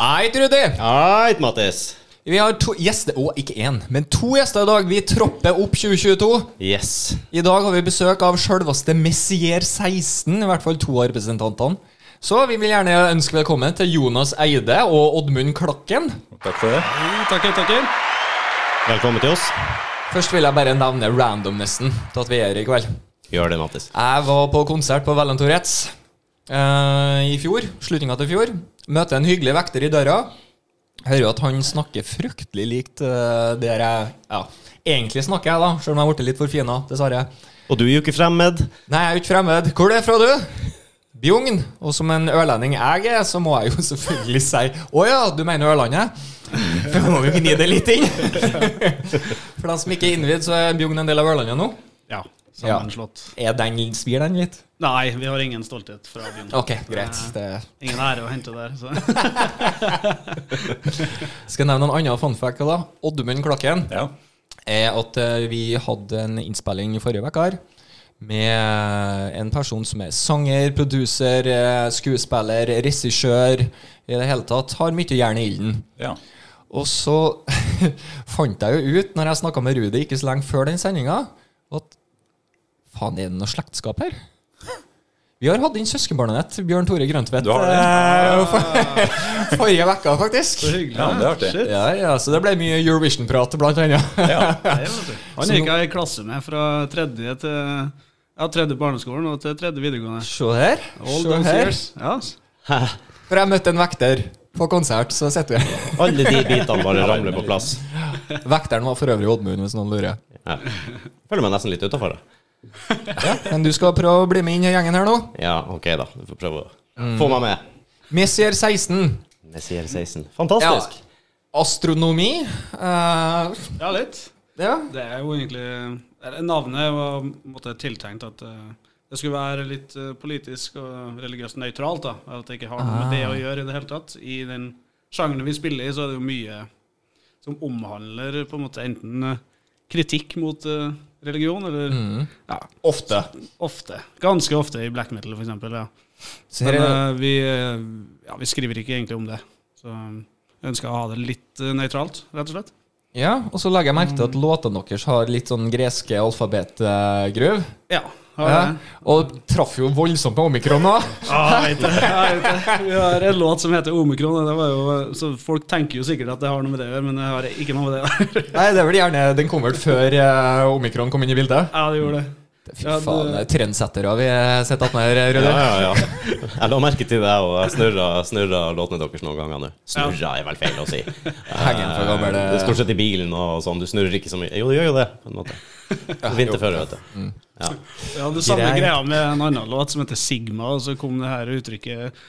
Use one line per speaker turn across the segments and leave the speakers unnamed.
Hei, Trudy!
Eit, Mattis.
Vi har to gjester, og ikke én, men to gjester i dag. Vi tropper opp 2022.
Yes.
I dag har vi besøk av sjølveste Messier 16, i hvert fall to av representantene. Så vi vil gjerne ønske velkommen til Jonas Eide og Oddmund Klakken.
Takk for det.
Takker, takker.
Velkommen til oss.
Først vil jeg bare nevne randomnessen til at vi er her i kveld.
Gjør det, Mattis.
Jeg var på konsert på Valen Tourettes eh, i fjor. Slutninga til fjor. Møter en hyggelig vekter i døra. Hører jo at han snakker fryktelig likt eh, der jeg ja, egentlig snakker, jeg da, sjøl om jeg ble litt forfina, dessverre.
Og du er jo ikke fremmed.
Nei, jeg er jo ikke fremmed. Hvor er du fra, du? Bjugn. Og som en ørlending jeg er, så må jeg jo selvfølgelig si Å ja, du mener Ørlandet? For jeg må jo gni det litt inn. For dem som ikke er innvidd, så er Bjugn en del av Ørlandet nå.
Ja, sammenslått.
Er den, Svir den litt?
Nei, vi har ingen stolthet fra byen.
Ok, greit. Det
Ingen ære å hente der. Så.
Skal jeg nevne noen andre fun facts da? Oddmund Klakken
Ja.
er at eh, vi hadde en innspilling i forrige uke her med en person som er sanger, produser, eh, skuespiller, regissør I det hele tatt har mye jern i ilden.
Ja.
Og så fant jeg jo ut, når jeg snakka med Rudi ikke så lenge før den sendinga, at faen, er det noe slektskap her? Vi har hatt inn søskenbarnet ditt, Bjørn Tore Grøntvedt,
Du har det?
eh, for- forrige uke, faktisk.
så hyggelig.
Ja, men det er artig.
Shit.
Ja, ja, så det ble mye Eurovision-prat, blant annet.
Ja.
Nei, vet du. Han gikk jeg i klasse med fra tredje til ja, tredje barneskolen og til tredje videregående.
Se her.
All
Se
those
her.
years. Ja.
For jeg møtte en vekter på konsert, så sitter vi
Alle de bitene bare ramler på plass.
Vekteren var for øvrig Oddmund, hvis noen lurer.
Ja. Føler meg nesten litt utafor.
Men du skal prøve å bli med inn i gjengen her nå.
Ja, OK, da. Du får prøve å få meg med.
Messier 16.
Messier 16. Fantastisk.
Astronomi. eh,
ja, litt.
ja.
Det er jo egentlig eller, Navnet var på en måte tiltenkt at eh, det skulle være litt eh, politisk og religiøst nøytralt. da, At det ikke har noe med det
Ah.
å gjøre i det hele tatt. I den sjangeren vi spiller i, så er det jo mye som omhandler på en måte enten eh, kritikk mot eh, religion, eller
Mm.
ja,
Ofte.
ofte. Ganske ofte i black metal, for eksempel. Ja.
Så
Men
her er,
eh, vi, eh, ja, vi skriver ikke egentlig om det. Så jeg ønsker å ha det litt eh, nøytralt, rett og slett.
ja, og så legger jeg merke til at låtene deres har litt sånn greske alfabetgruv.
Ja. har
Ja.
det.
Og traff jo voldsomt på omikron nå.
Ja, Ah, jeg vet det. Jeg vet det. Vi har en låt som heter Omikron. og Det var jo, så folk tenker jo sikkert at det har noe med det å gjøre, men det har ikke noe med det å gjøre.
Nei, det er vel gjerne den kom vel før eh, omikron kom inn i bildet.
Ja, det gjorde det.
Fy
Ja, det-
faen, det er trendsettere vi har sett attmed her, Røde.
Ja, ja, ja. Jeg la merke til det, og jeg snurra, snurra låtene deres noen ganger nå. Snurra er vel feil å si.
Henger en for gammel,
Eh,
eh.
Stort sett i bilen og sånn. Du snurrer ikke så mye. Jo, du gjør jo det, på en måte. Vinterføre, vet du. Ja.
Ja, det samme
Greit.
greia med en annen låt som heter Sigma, og så kom det her uttrykket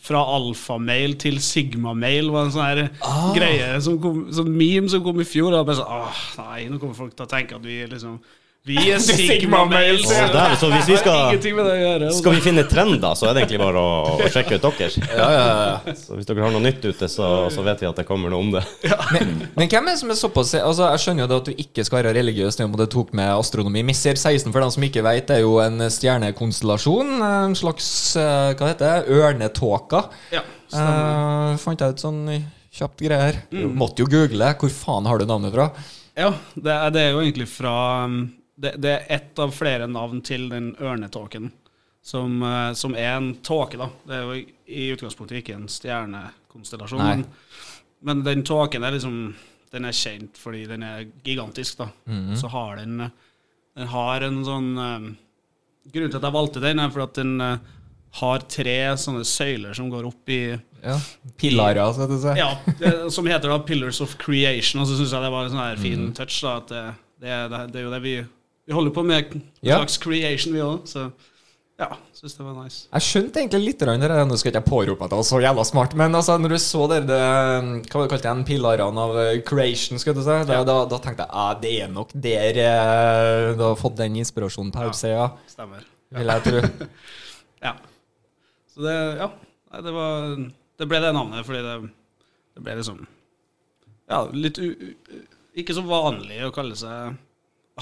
fra alfamail til sigmamail var en sånn her greie, som kom, sånn meme som kom i fjor. Og jeg bare sånn, Åh, nei, nå kommer folk til å tenke at vi er liksom Vi er sigmamail!
Å, der, så hvis vi
Det
skal
har ingenting med det å gjøre. altså.»
Skal vi finne trender, så er det egentlig bare å, å sjekke ut deres.
Ja, ja, ja.
Så hvis dere har noe nytt ute, så, så vet vi at det kommer noe om det.
Men, men hvem er det som er såpass Altså, Jeg skjønner jo det at du ikke skal være religiøs når du tok med astronomi. Messier 16, for dem som ikke vet, det er jo en stjernekonstellasjon. En slags eh, hva heter det, ørnetåka.
Ja, stemmer.
Eh, fant jeg ut sånn kjapt greier.
Mm.
Måtte jo google. Hvor faen har du navnet fra?
Ja, det er, det er jo egentlig fra um, det, det er ett av flere navn til den ørnetåken, som, eh, som er en tåke, da. Det er jo i utgangspunktet ikke en stjernekonstellasjon,
Nei.
men, men den tåken er liksom Den er kjent fordi den er gigantisk, da. Så har den eh, Den har en sånn eh, Grunnen til at jeg valgte den, er fordi at den eh, har tre sånne søyler som går opp i
Ja. Pilara, skal jeg si.
ja, det, som heter da Pillars of Creation. Og så syns jeg det var en sånn her fin
Mm.
touch. da At det, det, er- det er jo det vi Vi holder på med en
Ja.
slags creation, vi òg. Så Ja, syns det var nice.
Jeg skjønte egentlig litt grann det der. Nå skal ikke jeg pårope at jeg var så jævla smart, men altså, når du så det, det Hva var det kalt igjen? Pilarene av eh, creation, skal du si. Da, da, da tenkte jeg at det er nok der eh, du har fått den inspirasjonen på Haugseia,
Stemmer.
vil jeg tro.
Ja. Så det Ja. Nei, det var Det ble det navnet fordi det, det ble liksom Ja, litt u... u- Ikke så vanlig å kalle seg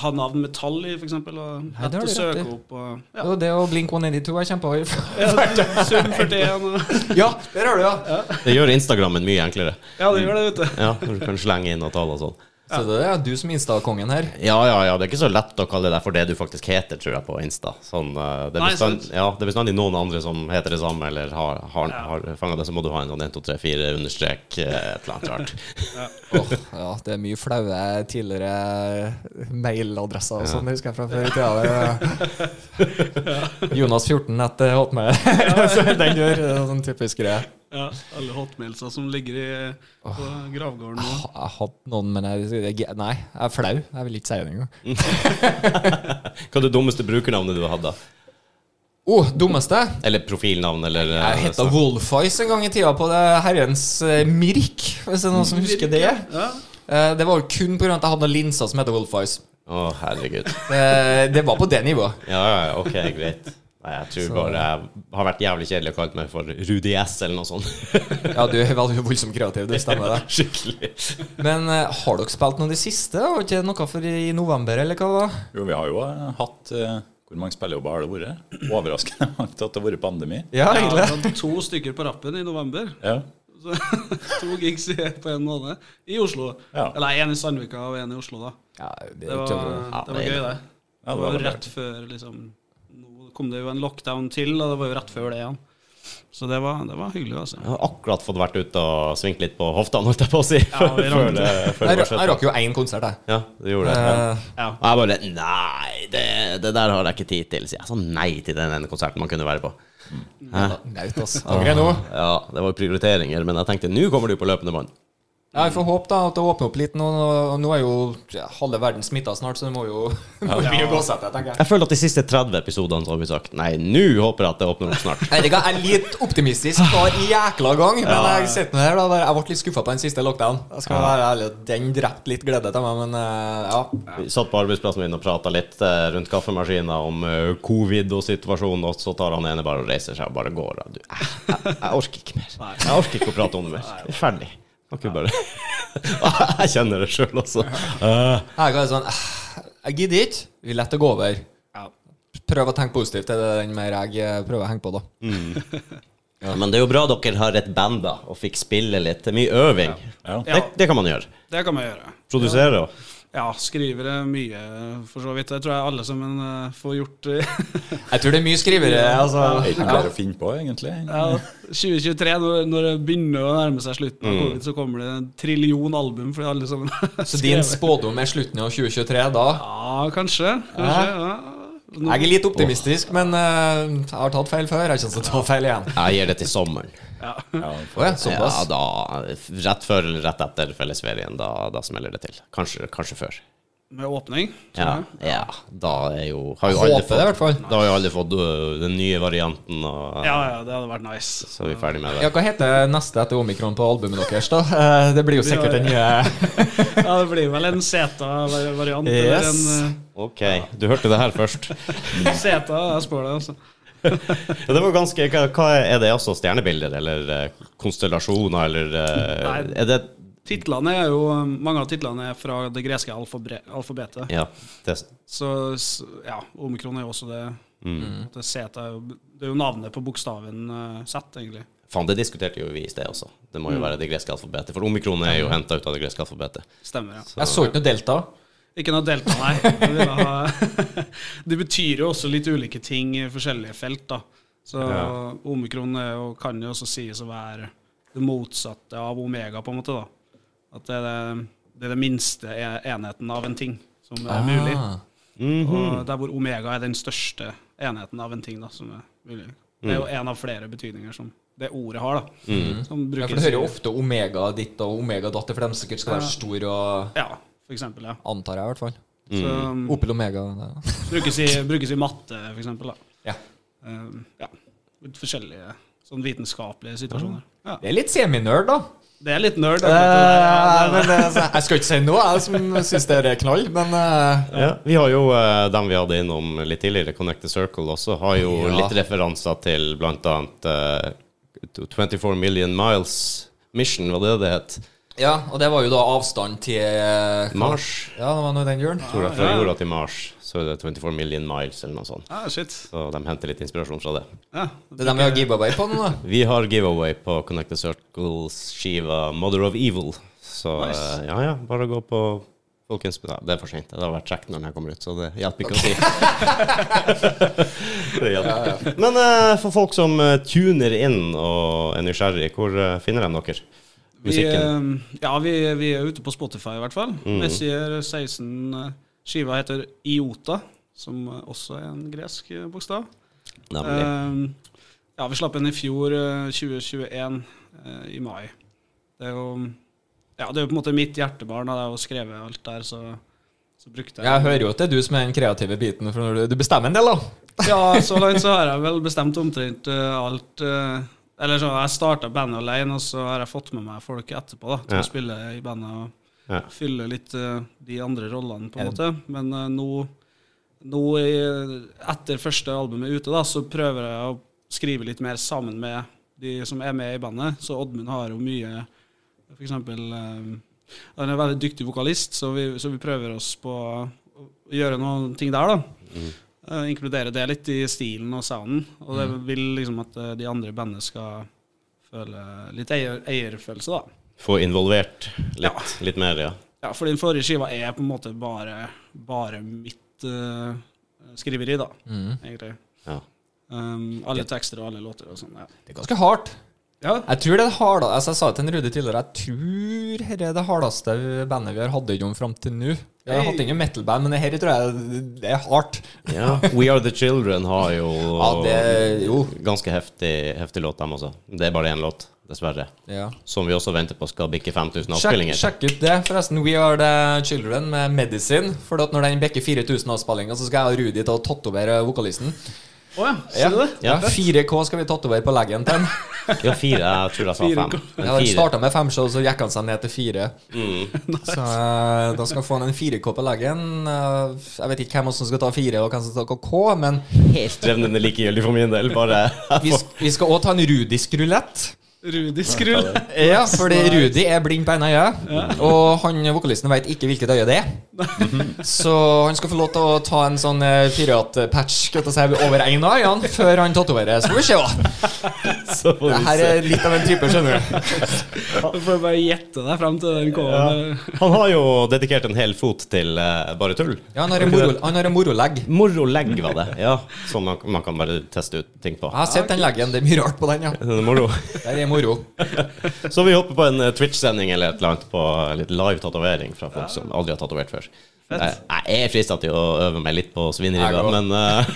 Ha navn med tall i, for eksempel. Og
Nei,
lett
det har
å
du rett i.
søke opp og
Det
Ja.
var det og Blink 182 jeg kjempa over.
ja Sum 41 og
Ja, der har du, ja.
Det gjør Instagrammen mye enklere.
Ja,
Mm.
det gjør det, vet du.
Ja, når Du kan slenge inn og tall og sånn.
Så det er du som Insta-kongen her.
Ja, ja, ja. Det er ikke så lett å kalle deg for det du faktisk heter, tror jeg, på Insta. Sånn, eh, det, er
Nei,
bestand,
sant.
ja, det er bestandig noen andre som heter det samme, eller har, har,
Ja.
har fanga det, så må du ha en sånn 1, 2, 3, 4, understrek, eh, et eller annet rart.
Åh, ja, det er mye flaue tidligere mailadresser og sånn, det husker jeg fra før i tida. Det- Jonas14 etter Hotmail. eh, Så den gjør det er sånn typisk greie.
Ja, alle hotmailsa som ligger i, på gravgården nå.
Jeg har hatt noen, men jeg, jeg, nei, jeg er flau. Jeg vil ikke si det engang.
Hva er det dummeste brukernavnet du har hatt, da?
Oh, dummeste?
Eller profilnavn, eller eh,
Jeg heta
sånn.
Wolfice en gang i tida på det herrens eh, Mirk, hvis det er noen som husker det.
Ja.
Eh, Det var jo kun pga. at jeg hadde noen linser som heter Wolfice.
Å, herregud.
Det, det var på det nivået.
Ja, ja, ja, ok, greit. Nei, jeg tror bare jeg har vært jævlig kjedelig og kalt meg for Rudi S, eller noe sånt.
Ja, du er veldig voldsomt kreativ, det stemmer det.
Skikkelig.
Men eh, har dere spilt noe i det siste? Var det ikke noe for i november, eller hva? det var?
Jo, vi har jo eh, hatt eh, Hvor mange spillejobber har det vært? Overraskende mange til at det har vært pandemi.
Ja,
Ja, det
egentlig.
var to stykker på rappen i november.
Ja.
Så, to gigs i, på en måned i Oslo.
Ja.
Eller én i Sandvika og én i Oslo, da.
Ja, det
Det var, det var
det er
gøy,
Ja,
det. Det
det
var
var
jo rett før liksom Nå kom det jo en lockdown til, og det var jo rett før det igjen. Så det var, det var hyggelig, altså.
Jeg har akkurat fått vært ute og svingt litt på hoftene, holdt jeg på å si.
Ja, vi
før
rakk
det, før det
Jeg,
var
ra- jeg
slutt.
rakk jo én konsert, jeg.
Ja, du gjorde det. Ja.
Eh,
Ja.
Og jeg bare Nei, det, det der har jeg ikke tid til. Så jeg sa nei til den ene konserten man kunne være på.
Naut, ass. Angrer nå.
Ja, det var prioriteringer, men jeg tenkte nå kommer du på løpende bånd.
Ja, Vi får håpe da at det åpner opp litt nå. og Nå er jo ja, halve verden smitta snart, så det må jo må jo begynne å gå seg til, tenker jeg.
Jeg føler at de siste 30 episodene så har vi sagt nei, nå håper jeg at det åpner opp snart.
Nei, det ga- Jeg er litt optimistisk hver jækla gang, men jeg sitter nå her da, bare, jeg ble litt skuffa på den siste lockdown. Jeg skal være ærlig, Den drepte litt glede til meg, men eh, ja.
Vi satt på arbeidsplassen min og prata litt eh, rundt kaffemaskina om eh, covid og situasjonen, og så tar han ene bare og reiser seg og bare går. Og du, eh, jeg, jeg orker ikke mer. Jeg orker ikke å prate om det mer. Jeg er Ferdig. Kan ikke bare Jeg kjenner det sjøl også. Eh,
Jeg er sånn «Eh, Jeg gidder ikke. Vi lar det gå over.
Ja.
Prøv å tenke positivt. Det er den mer jeg eh, prøver å henge på, da.
Ja, men det er jo bra dere har et band da og fikk spille litt. Det er mye øving.
Ja.
Det, det kan man gjøre.
Det kan man gjøre.
Produsere og
Ja, skrivere mye, for så vidt. Det tror jeg alle sammen eh, får gjort. eh,
Jeg tror det er mye skrivere. Altså.
Det er ikke noe bedre å finne på, egentlig.
Ja, 2023, når, når det begynner å nærme seg slutten av covid, så kommer det en trillion album fordi alle sammen har
Så din
skrevet.
spådom er slutten av 2023 da?
Ja, kanskje. kanskje ja. Nå,
Jeg er litt optimistisk, men eh, jeg har tatt feil før. Jeg kommer til å ta feil igjen.
Jeg gir det til sommeren.
Ja,
Å ja,
Ja,
såpass.
da, rett før eller rett etter fellesferien. Da, da smeller det til. Kanskje, kanskje før.
med åpning.
Ja, ja, da er jo har jo
Jeg
alle
håper det, i hvert fall.
Da har jo alle fått øh, den nye varianten, og øh,
Ja, ja, det hadde vært nice.
så er vi ferdig med det.
Ja, Hva heter neste etter omikron på albumet deres? da? Eh, Det blir jo sikkert den nye
Ja, det blir vel en Zeta-variant.
Yes.
Eller en
Ok, du hørte det her først.
eh, Zeta, jeg spør deg, altså.
Ja, det var ganske, hva, hva er det også? Stjernebilder, eller eh, konstellasjoner, eller eh,
Nei.
Er det
Titlene er jo, Mange av titlene er fra det greske alfabre- alfabetet.
Ja. Det,
Så s- ja, omikron er jo også det.
Mm.
Det, Zeta, er jo- det er jo navnet på bokstaven eh, Z, egentlig.
faen, det diskuterte jo vi i sted også. Det
Mm.
må jo være det greske alfabetet. For omikron er jo henta ut av det greske alfabetet.
Stemmer, ja.
Jeg så ikke noe Delta.
Ikke noe delta, nei. Jeg ville ha- Det betyr jo også litt ulike ting i forskjellige felt, da. Så omikron er jo, kan jo også sies å være det motsatte av omega, på en måte, da. At det er det, det, er det minste e- enheten av en ting som er mulig.
Ah.
Og der hvor omega er den største enheten av en ting, da, som er mulig. Det er jo en av flere betydninger som det ordet har, da. Som
Ja,
brukes
for Du hører jo
i-
ofte omega ditt og omega datt, for de sikkert skal være stor og
Ja, for eksempel, ja.
Antar jeg, i hvert fall.
Så, um,
Opel Omega. det.
brukes, i, brukes i matte, for eksempel, da.
Ja.
eh, ja, litt forskjellige sånn vitenskapelige situasjoner. Ja.
Det er litt seminerd, da.
Det er litt
Eh,
nerd. akkurat det der. Ja, det
men, eh, så jeg skal ikke si noe, jeg som syns det er knall, men eh,
Ja, vi har jo eh, dem vi hadde innom litt tidligere, Connect the Circle også, har jo
Ja.
litt referanser til blant annet eh, 24 Million Miles Mission, var det det het?
Ja, og det var jo da avstand til eh,
Mars.
Ja, det var nå den julen.
Tror jeg fra jorda til Mars, så er det 24 Million Miles eller noe sånt.
Ah, shit.
Så de henter litt inspirasjon fra det.
Ja.
Det er dem vi har giveaway på nå, da.
Vi har giveaway på Connect the Circles skiva Mother of Evil, så
Nice.
eh, ja ja, bare gå på Folkens, ja, det er for sent. Det har vært sjekk når den her kommer ut, så det hjelper ikke å si. det hjelper ikke. Men eh, for folk som eh, tuner inn og er nysgjerrig, hvor eh, finner de dere?
Vi,
Musikken?
eh, ja, vi, vi er ute på Spotify i hvert fall.
Mm.
Messier 16 eh, Skiva heter Iota, som eh, også er en gresk eh, bokstav.
Nemlig.
Eh, ja, vi slapp den i fjor, eh, 2021, eh, i mai. Det er jo ja, det er jo på en måte mitt hjertebarn, og det er jo skrevet alt der, så, så brukte
Jeg
jeg
hører jo at det er du som er den kreative biten, for når du, du bestemmer en del, da.
Ja, så langt så har jeg vel bestemt omtrent eh, alt. eh, eller så har jeg starta bandet alene, og så har jeg fått med meg folk etterpå da, til
Ja.
å spille i bandet og
Ja.
fylle litt eh, de andre rollene, på
Ja.
en måte. Men eh, nå, nå i, etter første albumet er ute, da, så prøver jeg å skrive litt mer sammen med de som er med i bandet. Så Oddmund har jo mye for eksempel eh, Han er en veldig dyktig vokalist, så vi, så vi prøver oss på å gjøre noen ting der, da. Eh, inkludere det litt i stilen og sounden. Og det vil liksom at eh, de andre i bandet skal føle litt eier, eierfølelse, da.
Få involvert litt, litt mer, ja.
Ja, for den forrige skiva er på en måte bare, bare mitt eh, skriveri, da,
Mm.
egentlig.
ja.
Um, alle tekster og alle låter og sånn. Ja.
Det er ganske hardt.
ja.
Jeg tror det er det harde, altså jeg sa det til en Rudi tidligere, jeg tror dette er det hardeste bandet vi har hatt gjennom fram til nå. Vi har
Hei.
hatt ingen metal-band, men det her tror jeg det er hardt.
ja. We Are The Children har jo,
Ja, det- jo.
ganske heftig, heftig låt, dem også. Det er bare én låt, dessverre.
Ja.
Som vi også venter på skal bikke 5000
Sjekk,
avspillinger.
sjekk ut det, forresten. We Are The Children med Medicine. For at når den bikker 4000 avspillinger, så skal jeg og Rudi ta og tatovere vokalisten.
Å ja, sier du det?
Ja.
4K skal vi tatovere på leggen til han.
Ja, fire. Jeg tror jeg sa
Fire,
fem. Men
Ja, Han
fire.
starta med fem show, så gikk han seg ned til fire. Så eh, da skal han få han en 4K på leggen. Eh, Jeg vet ikke hvem av oss som skal ta fire, og hvem som skal ta K, men
Helt revnende likegyldig for min del. Bare
vi, sk- vi skal òg ta en rudisk rulett.
Rudi Skrull.
Ja, fordi Rudi er blind på ene øyet, og han vokalisten veit ikke hvilket øye det er. Så han skal få lov til å ta en sånn eh, piratpatch skal jeg til å si, over én av øynene før han tatoverer. Så får vi se, da.
så får
Det
vi
her
se.
er litt av en type, skjønner du.
Du får bare gjette deg frem til den kommer.
Ja. Han har jo dedikert en hel fot til eh, bare tull.
Ja, han har en moro- han har en morolegg.
Morolegg var det. Ja, Som man, man kan bare teste ut ting på.
Jeg har sett den leggen. Det er mye rart på den, ja.
Det er Moro.
Der er moro.
Så vi hopper på en eh, Twitch-sending eller et eller annet på eh, litt live tatovering fra folk som aldri har tatovert før. Jeg, jeg er frista til å øve meg litt på svineriga,
Jeg går.
men eh,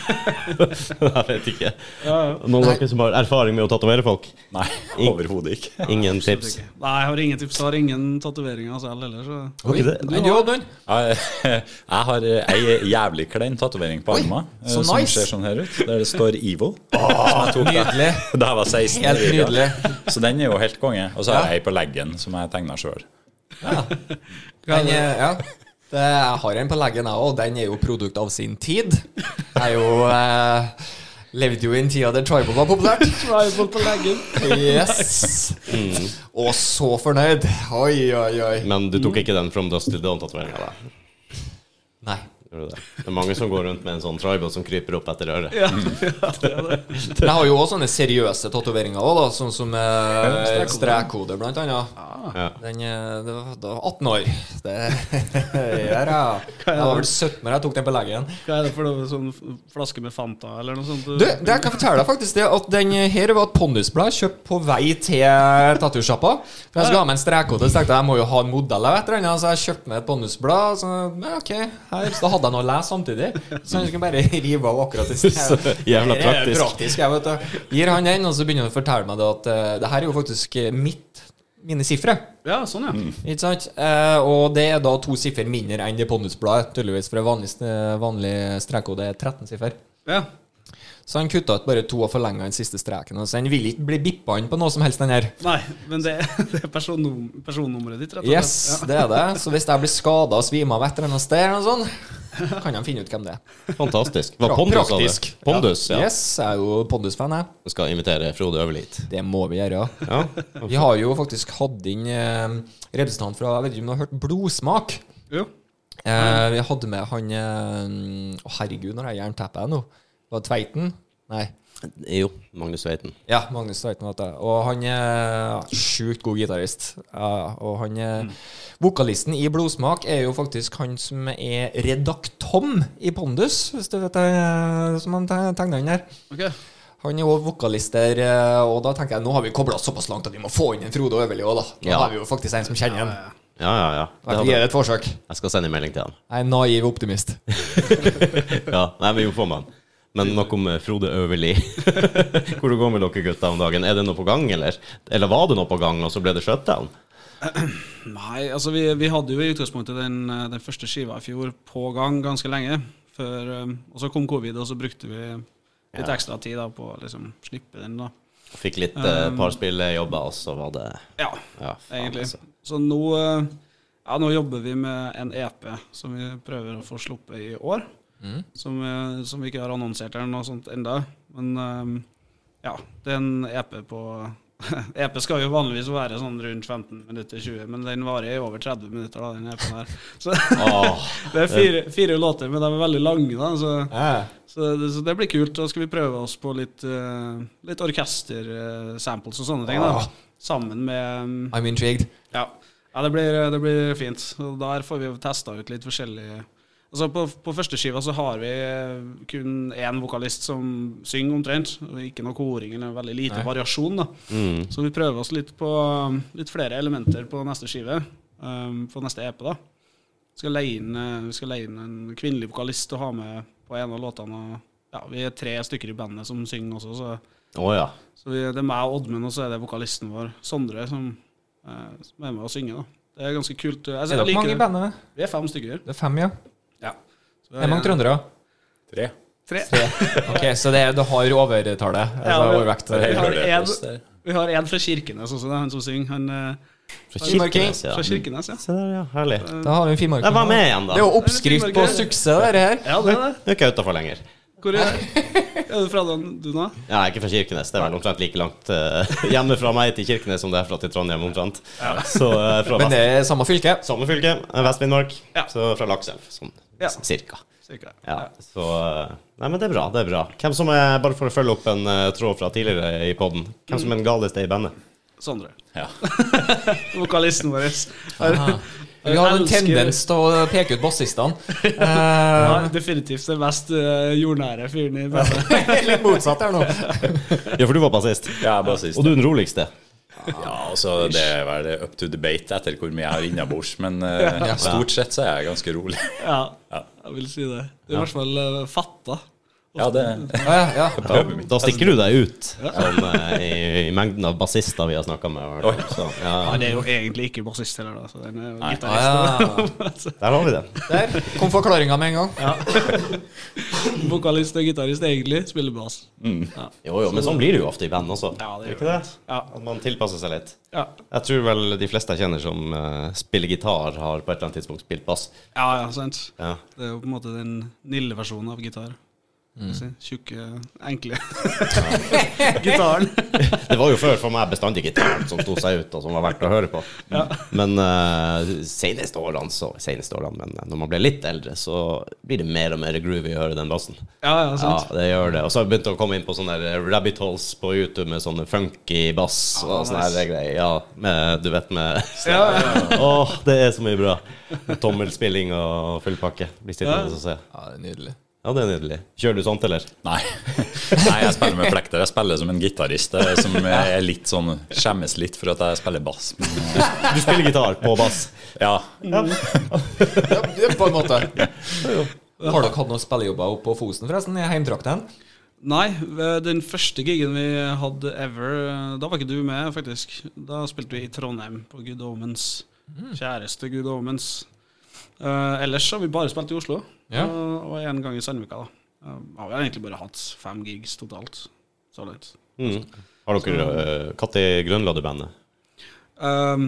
Jeg vet ikke.
Ja,
Noen av dere som har erfaring med å tatovere folk?
Nei, overhodet ikke.
Ingen tips?
Nei, jeg har ingen tips. Jeg har ingen tatoveringer selv heller. Så.
Oi,
det-
men du har den.
Jeg, jeg har eh, ei jævlig klein tatovering på
Oi,
armen eh,
så
som
nice.
ser sånn her ut, der det står Evil. som jeg tok da-
Nydelig.
Da jeg var 16.
Helt
i Riga.
nydelig.
Så den er jo helt konge. Og så har
Ja.
jeg ei på leggen som jeg tegna sjøl.
eh,
Den er, ja. Det, jeg har en på leggen, jeg òg, og den er jo produkt av sin tid. Jeg er jo eh, Levde jo i en tid der tribal var populært.
Tribal på leggen.
Yes. Og så fornøyd. Oi, oi, oi.
Men du tok ikke den From Dust Till Dawn-tatoveringa, da?
Nei.
Gjør du det? Det er mange som går rundt med en sånn tribal som kryper opp etter øret.
Ja, ja, det er det.
Men jeg har jo òg sånne seriøse tatoveringer, også, da, sånn som eh, strekkode, blant annet.
Ja.
Den, eh, det var, da var jeg 18 år. Det gjør jeg. Jeg var vel 17 når jeg tok den på leggen.
Hva er det for noe sånn flaske med Fanta eller noe sånt?
Du, det jeg kan fortelle deg faktisk det at den her var et pondusblad kjøpt på vei til tattoo-sjappa. For jeg skulle ha med en strekkode, så tenkte jeg jeg må jo ha en modell av et eller annet. Så jeg kjøpte meg et pondusblad. Så ja, ok, her. Så da hadde jeg noe å lese samtidig. Så jeg skulle bare rive av akkurat det
Så jævla
Det er
praktisk.
praktisk jeg vet du. Gir han den, og så begynner han å fortelle meg det at eh, det her er jo faktisk eh, mitt, mine sifre.
Ja, sånn, ja.
Ikke sant? Eh, og det er da to siffer mindre enn det pondusbladet, tydeligvis. For vanlig, vanlig strekkode er 13 siffer.
ja.
Så han kutta ut bare to og forlenga den siste streken. Så han vil ikke bli bippa inn på noe som helst, den her.
Nei, men det, det er personnum, personnummeret ditt, rett og slett.
Yes, det er det. Så hvis jeg blir skada og svimer av et eller annet sted, eller noe sånt, kan de finne ut hvem det er.
Fantastisk. Var
Pra-
Pondus av det?
praktisk.
Pondus, ja.
Yes, jeg er jo Pondus-fan, jeg.
Jeg skal invitere Frode Øverli hit.
Det må vi gjøre.
Ja.
Vi har jo faktisk hatt inn eh, representant fra Jeg vet ikke om du har hørt Blodsmak?
Ja. Jo.
Eh, vi hadde med han eh, Å, herregud, når jeg jernteppet nå. Var det Tveiten? Nei.
Jo, Magnus Veiten.
Ja, Magnus Tveiten het det. Og han er sjukt god gitarist. Ja, og han eh,
Mm.
Vokalisten i Blodsmak er jo faktisk han som er redaktom i Pondus, hvis du vet det, eh, som han te- tegna inn her.
Ok.
Han er jo vokalist der, eh, og da tenker jeg nå har vi kobla såpass langt at vi må få inn en Frode Øverli òg, da. Nå
Ja.
har vi jo faktisk en som kjenner ham.
Ja, ja, ja. Det
Gi
hadde.
det et forsøk.
Jeg skal sende en melding til ham.
Jeg er en naiv optimist.
Ja, nei, men jo, får man. Men nok om eh, Frode Øverli. Hvor det går med dere gutter om dagen? Er det noe på gang, eller? Eller var det noe på gang, og så ble det shutdown?
Nei, altså vi, vi hadde jo i utgangspunktet den, eh, den første skiva i fjor på gang ganske lenge. Før, eh, og så kom covid, og så brukte vi litt ekstra tid da, på å liksom slippe den. da.
Fikk litt eh, par spillejobber, og så var det
Ja,
Ja, faen,
Um. egentlig.
altså.
Så nå, eh, ja, nå jobber vi med en EP som vi prøver å få sluppet i år. Som, eh, som vi ikke har annonsert eller noe sånt enda. Men eh, ja, det er en EP på EP skal jo vanligvis være sånn rundt 15 minutter 20, men den varer i over 30 minutter. da, den EP-en her. Så
Åh,
Det er fire, fire låter, men de er veldig lange, da. Så,
Ja.
så, det, så det blir kult. Da skal vi prøve oss på litt, eh, litt orkester-samples og sånne ting. da
Åh.
Sammen med mm,
I'm intrigued.
Ja, ja det, blir, det blir fint. Og der får vi jo testa ut litt forskjellige Altså På, på førsteskiva så har vi eh, kun én vokalist som synger omtrent. og Ikke noe koring eller veldig lite variasjon. da
mm.
Så vi prøver oss litt på um, litt flere elementer på neste skive. Um, på neste EP, da. Skal leie inn, eh, vi skal leie inn en kvinnelig vokalist og ha med på en av låtene. og, Ja, vi er tre stykker i bandet som synger også, så,
Å, ja.
så vi, det er meg og Oddmund, og så er det vokalisten vår, Sondre, som, eh, som er med og synger. da Det er ganske kult. Jeg,
Er
jeg
dere
liker
mange i
det.
bandet?
Vi er fem stykker.
Det er fem, ja.
Ja. Så
Det er mange trøndere.
Tre.
Tre.
Ok, Så det er, du har overtallet? Altså
Ja, men-
overvekt?
Det er
Vi
helt
har
dårlig
en-
plass der.
Vi har en fra Kirkenes også, det er han som synger. Han, eh,
Fra
Finnmarking.
Kirkenes, ja.
Fra Kirkenes, ja.
Se der, ja. Herlig.
Da har vi en finnmarking.
Jeg var med igjen, da.
Det er jo oppskrift på suksess, dette her.
Ja, det er det.
Du er ikke utafor lenger.
Hvor er, er du fra, du nå?
Ja, jeg er ikke fra Kirkenes. Det er vel omtrent like langt eh, hjemme fra meg til Kirkenes som det er fra til Trondheim, omtrent. Så eh, fra
Men
vest,
det er samme fylke.
samme fylke, eh, Vest-Finnmark.
Ja.
Så fra Lakselv, sånn
Ja.
cirka.
Cirka.
Ja, så eh, Nei, men det er bra. det er bra Hvem som er, Bare for å følge opp en eh, tråd fra tidligere i poden, hvem som er
Mm.
den galeste i bandet?
Sondre.
Ja.
Vokalisten vår.
Vi har en
Elsker-
tendens til å peke ut bassistene. Eh,
Ja, definitivt den mest eh, jordnære fyren i bandet.
Eh, Litt motsatt her nå.
Ja, for du var bassist.
Jeg er bassist.
Og du er den roligste.
Ja, altså, det er vel up to debate etter hvor mye jeg har innabords, men eh, stort sett så er jeg ganske rolig.
Ja, jeg vil si det. Du er i hvert fall eh, fatta.
Ja, det
Ja, ja.
Ja, da stikker du deg ut sånn, eh, i, i mengden av bassister vi har snakka med. Så, ja.
Han er jo egentlig ikke bassist heller, da, så den er jo
Ah,
gitarist.
ja.
Der har vi det.
Der kom forklaringa med en gang.
Vokalist og gitarist egentlig spiller bass. Ja.
Jo, jo, men sånn blir det jo ofte i band også.
Ja, det
Er
gjør
ikke det?
Ja.
At man tilpasser seg litt.
Ja.
Jeg tror vel de fleste jeg kjenner som eh, spiller gitar, har på et eller annet tidspunkt spilt bass.
ja, ja, sant.
Ja.
Det er jo på en måte den nille versjonen av gitar. Vil Si. Tjukke, enkle gitaren.
Det var jo før for meg bestandig gitaren som sto seg ut, og som var verdt å høre på. Men eh, seneste årene, så Seneste årene, men eh, når man ble litt eldre, så blir det mer og mer groovy å høre den bassen.
Ja, ja,
Ja,
sant.
det gjør det. Og så har jeg begynt å komme inn på sånne der rabbit holes på YouTube med sånne funky bass og
Ah,
sånne
nice.
her greier. Ja, med, du vet med
Ja, ja.
Åh, det er så mye bra. Tommelspilling og full pakke. Blir sittende og se.
Ja, det er Nydelig.
Ja, det er nydelig. Kjører du sånt, eller?
Nei. Nei, jeg spiller med plekter. Jeg spiller som en gitarist eh, som er litt sånn skjemmes litt for at jeg spiller bass. Men, eh,
Du spiller gitar på bass.
ja.
Ja, det er på en måte. Har dere hatt noen spillejobber oppe på Fosen, forresten? I heimtrakten?
Nei, eh, den første gigen vi hadde ever, eh, da var ikke du med, faktisk. Da spilte vi i Trondheim, på Good Omens. Kjæreste Good Omens. Eh, ellers har vi bare spilt i Oslo,
Ja.
og, og en gang i Sandvika, da. Eh, har vel egentlig bare hatt fem gigs totalt så langt.
Mm. Har dere eh, Når grunnla du bandet?
Ehm,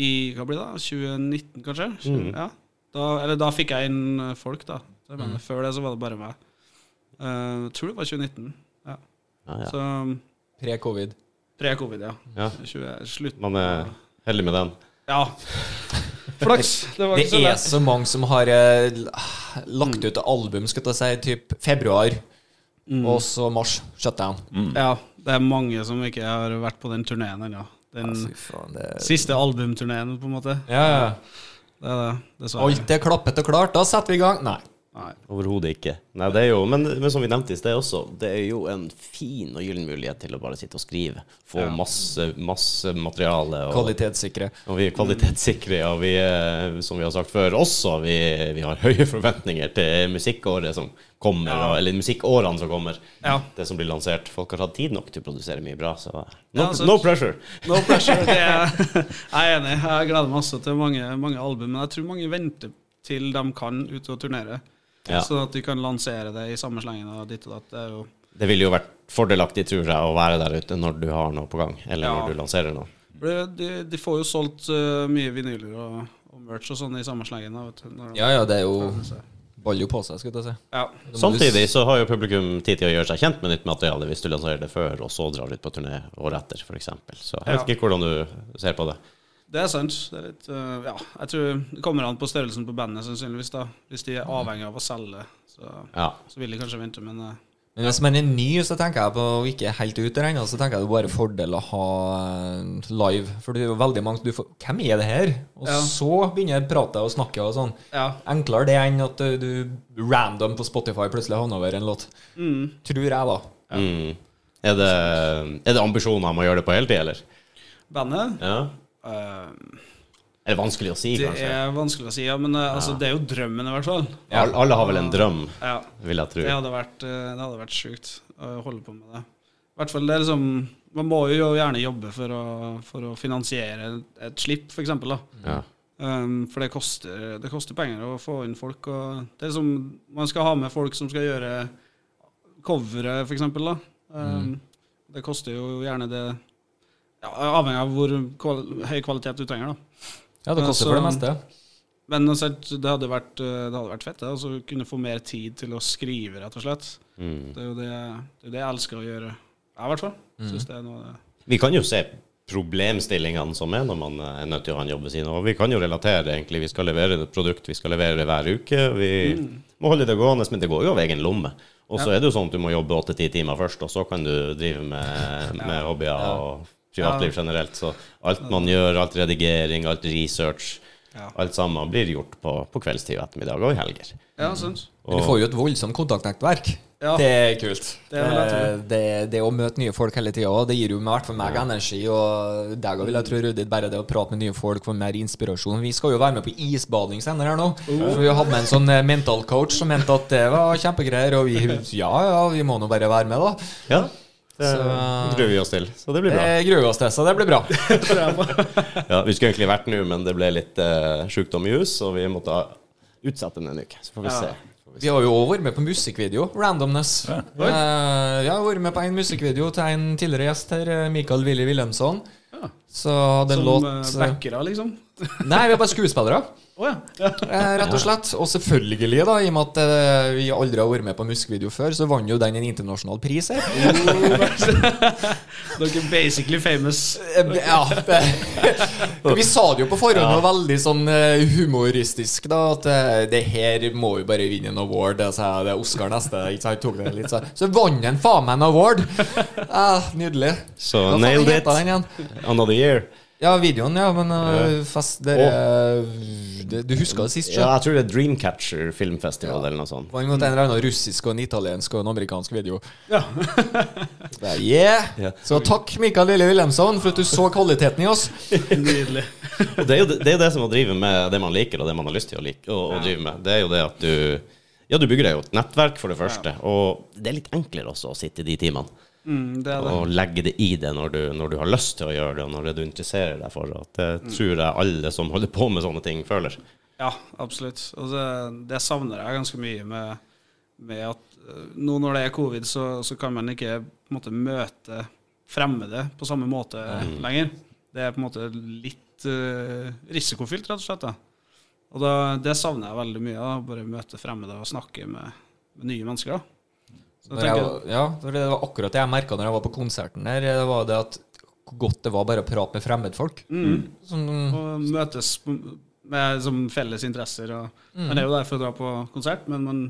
I hva blir det, da? 2019, kanskje? Tjue- Ja. Da, eller da fikk jeg inn eh, folk, da. Så jeg mener, Før det så var det bare meg. Eh, jeg tror det var 2019. Ja.
Ja, ja.
Så um,
Pre-covid.
pre-covid, ja.
Ja.
20, slutt.
Man er heldig med den.
Ja. Flaks! Det var
Det
ikke så
er
lett.
så mange som har eh, l- lagt ut album, skal jeg ta si, typ februar, og så mars. Shutdown.
Ja, det er mange som ikke har vært på den turneen ennå. Den
Fy faen, det
siste albumturneen, på en måte.
ja, ja.
Det er det, dessverre.
Alt er klappet og klart, da setter vi i gang. Nei.
Nei.
Overhodet ikke. Nei, det er jo, men, men som vi nevnte i sted også, det er jo en fin og gyllen mulighet til å bare sitte og skrive. Få masse, masse materiale. Og,
Kvalitetssikre.
og vi er kvalitetssikre, og vi, er, som vi har sagt før, også vi, vi har høye forventninger til musikkåret som kommer, og, eller musikkårene som kommer.
Ja.
Det som blir lansert. Folk har tatt tid nok til å produsere mye bra, så no,
Ja, altså-
no pressure.
No pressure. Det er, jeg er enig. Jeg gleder meg også til mange, mange album. Men jeg tror mange venter til de kan ut og turnere.
Ja.
Sånn at de kan lansere det i samme slengen og ditt og datt. Det er jo
Det ville jo vært fordelaktig, tror jeg, å være der ute når du har noe på gang, eller
Ja.
når du lanserer noe.
For det- de, de får jo solgt eh, mye vinyler og, og merch og sånn i samme slengen. da, Vet du, når de,
Ja, ja, det er jo Baller jo på seg, skal jeg si.
ja.
Da må du-
Samtidig så har jo publikum tid til å gjøre seg kjent med nytt materiale hvis du lanserer det før, og så drar ut på turné året etter, f.eks. Så jeg vet
Ja.
ikke hvordan du ser på det.
Det er sant. Det er litt, eh, ja, jeg tror det kommer an på størrelsen på bandet, sannsynligvis. da. Hvis de er avhengig av å selge, så,
Ja.
så vil de kanskje vente. Men eh,
Men hvis man er ny, så tenker jeg på og ikke er helt ute ennå, så tenker jeg det er bare fordel å ha eh, live. For det er jo veldig mange du får Hvem er det her? Og
Ja.
så begynner pratet og snakket og sånn.
ja.
Enklere det enn at eh, du random på Spotify plutselig havner over en låt. Tror jeg, da.
Mm. Er, det, er det ambisjoner om å gjøre det på heltid, eller?
Bandet
Ja.
eh,
Er det vanskelig å si,
Det
kanskje?
er vanskelig å si, ja, men eh, altså, det er jo drømmen, i hvert fall.
Al- Alle har vel en drøm,
Ja,
vil jeg tro.
Det hadde vært, eh, det hadde vært sjukt å holde på med det. I hvert fall, det er liksom Man må jo gjerne jobbe for å, for å finansiere et slipp, for eksempel, da.
Ja.
Um, for det koster, det koster penger å få inn folk. Og det er liksom, man skal ha med folk som skal gjøre coveret, for eksempel. Da. Um, Det koster jo gjerne det ja, Avhengig av hvor kval høy kvalitet du trenger, da.
Ja, det koster
Altså,
for det meste.
Men altså, det hadde vært, det hadde vært fett det, altså, å kunne få mer tid til å skrive, rett og slett.
Mm.
Det er jo det, det, er det jeg elsker å gjøre. Jeg, i hvert fall. Synes det er noe
Vi kan jo se problemstillingene som er når man eh, er nødt til å ha en jobb ved siden av. Og Vi kan jo relatere, egentlig. Vi skal levere et produkt, vi skal levere det hver uke. Vi
Mm.
må holde det gående, men det går jo av egen lomme. Og så er det jo sånn at du må jobbe åtte-ti timer først, og så kan du drive med, med hobbyer og privatliv generelt. Så alt man gjør, alt redigering, alt research,
Ja.
alt sammen blir gjort på, på kveldstid og ettermiddag og i helger.
Ja, sant.
Men Du får jo et voldsomt kontaktnettverk.
Ja.
Det er kult.
Mm. Det vil jeg
Eh, det, det å møte nye folk hele tida, det gir jo meg, i hvert fall meg energi. Og deg òg, vil jeg tro, Rudi. Bare det å prate med nye folk får mer inspirasjon. Vi skal jo være med på isbading senere her nå. For vi hadde med en sånn eh, mental coach som mente at det var kjempegreier. Og vi ja, ja, vi må nå bare være med, da.
Ja, det
Så- eh,
gruer vi oss til. Så Eh. det blir bra.
Det gruer vi oss til, så det blir bra.
Ja, Vi skulle egentlig vært nå, men det ble litt eh, sjukdom i hus, og vi måtte ha utsette den en uke. Så får vi
Ja.
se. Får vi se.
Vi har jo òg vært med på musikkvideo. Randomness. Ja. vi har vært med på en musikkvideo til en tidligere gjest her, eh, Michael Willy Wilhelmsson.
Ja.
Så hadde en
Som
låt
eh,
eh,
backere, liksom.
Nei, vi er bare skuespillere,
Å ja.
eh, rett og slett. Og selvfølgelig, da, i og med at eh, vi aldri har vært med på musikkvideo før, så vant jo den en internasjonal pris her.
Dere er basically famous.
Eh, Ja, det, vi sa det jo på forhånd, og veldig sånn eh, humoristisk, da, at eh, det her må jo bare vinne en award. Det, sa jeg, det er Oscar neste. Ikke sant? Tok det litt, så så vant den faen meg en award! Eh, nydelig.
Så
Hva faen
nailed
heter
it.
Den igjen?
Another year.
Ja, videoen, ja, men eh, fast det, er- det, Du husker det sist,
Ja,
sjø?
jeg tror det er Dreamcatcher filmfestival eller noe sånt.
Vant mot en eller annen russisk og en italiensk og en amerikansk video.
Ja.
Det er- Yeah.
Ja.
Så takk, Mikael Lille Wilhelmsson, for at du så kvaliteten i oss.
Nydelig.
Og det er jo det, det, er det som å drive med det man liker, og det man har lyst til å, like, å, å drive med. Det er jo det at du Ja, du bygger deg jo et nettverk, for det første. Og det er litt enklere også å sitte de timene.
Mm, det er det.
Og legge det i det når du, når du har lyst til å gjøre det, og når det du interesserer deg for. At det tror jeg alle som holder på med sånne ting, føler.
Ja, absolutt. Og det, det savner jeg ganske mye med, med at eh, nå når det er covid, så, så kan man ikke på en måte møte fremmede på samme måte
Mm.
lenger. Det er på en måte litt eh, risikofylt, rett og slett. da. Og da, det savner jeg veldig mye. da, Bare møte fremmede og snakke med, med nye mennesker. da. Så jeg
Når jeg,
tenker,
var- ja, for det var akkurat det jeg merka når jeg var på konserten her. Det var det at hvor godt det var bare å prate med fremmedfolk.
Mm.
Sånn,
Og møtes på- med liksom, felles interesser. Og, Man er jo der for å dra på konsert, men man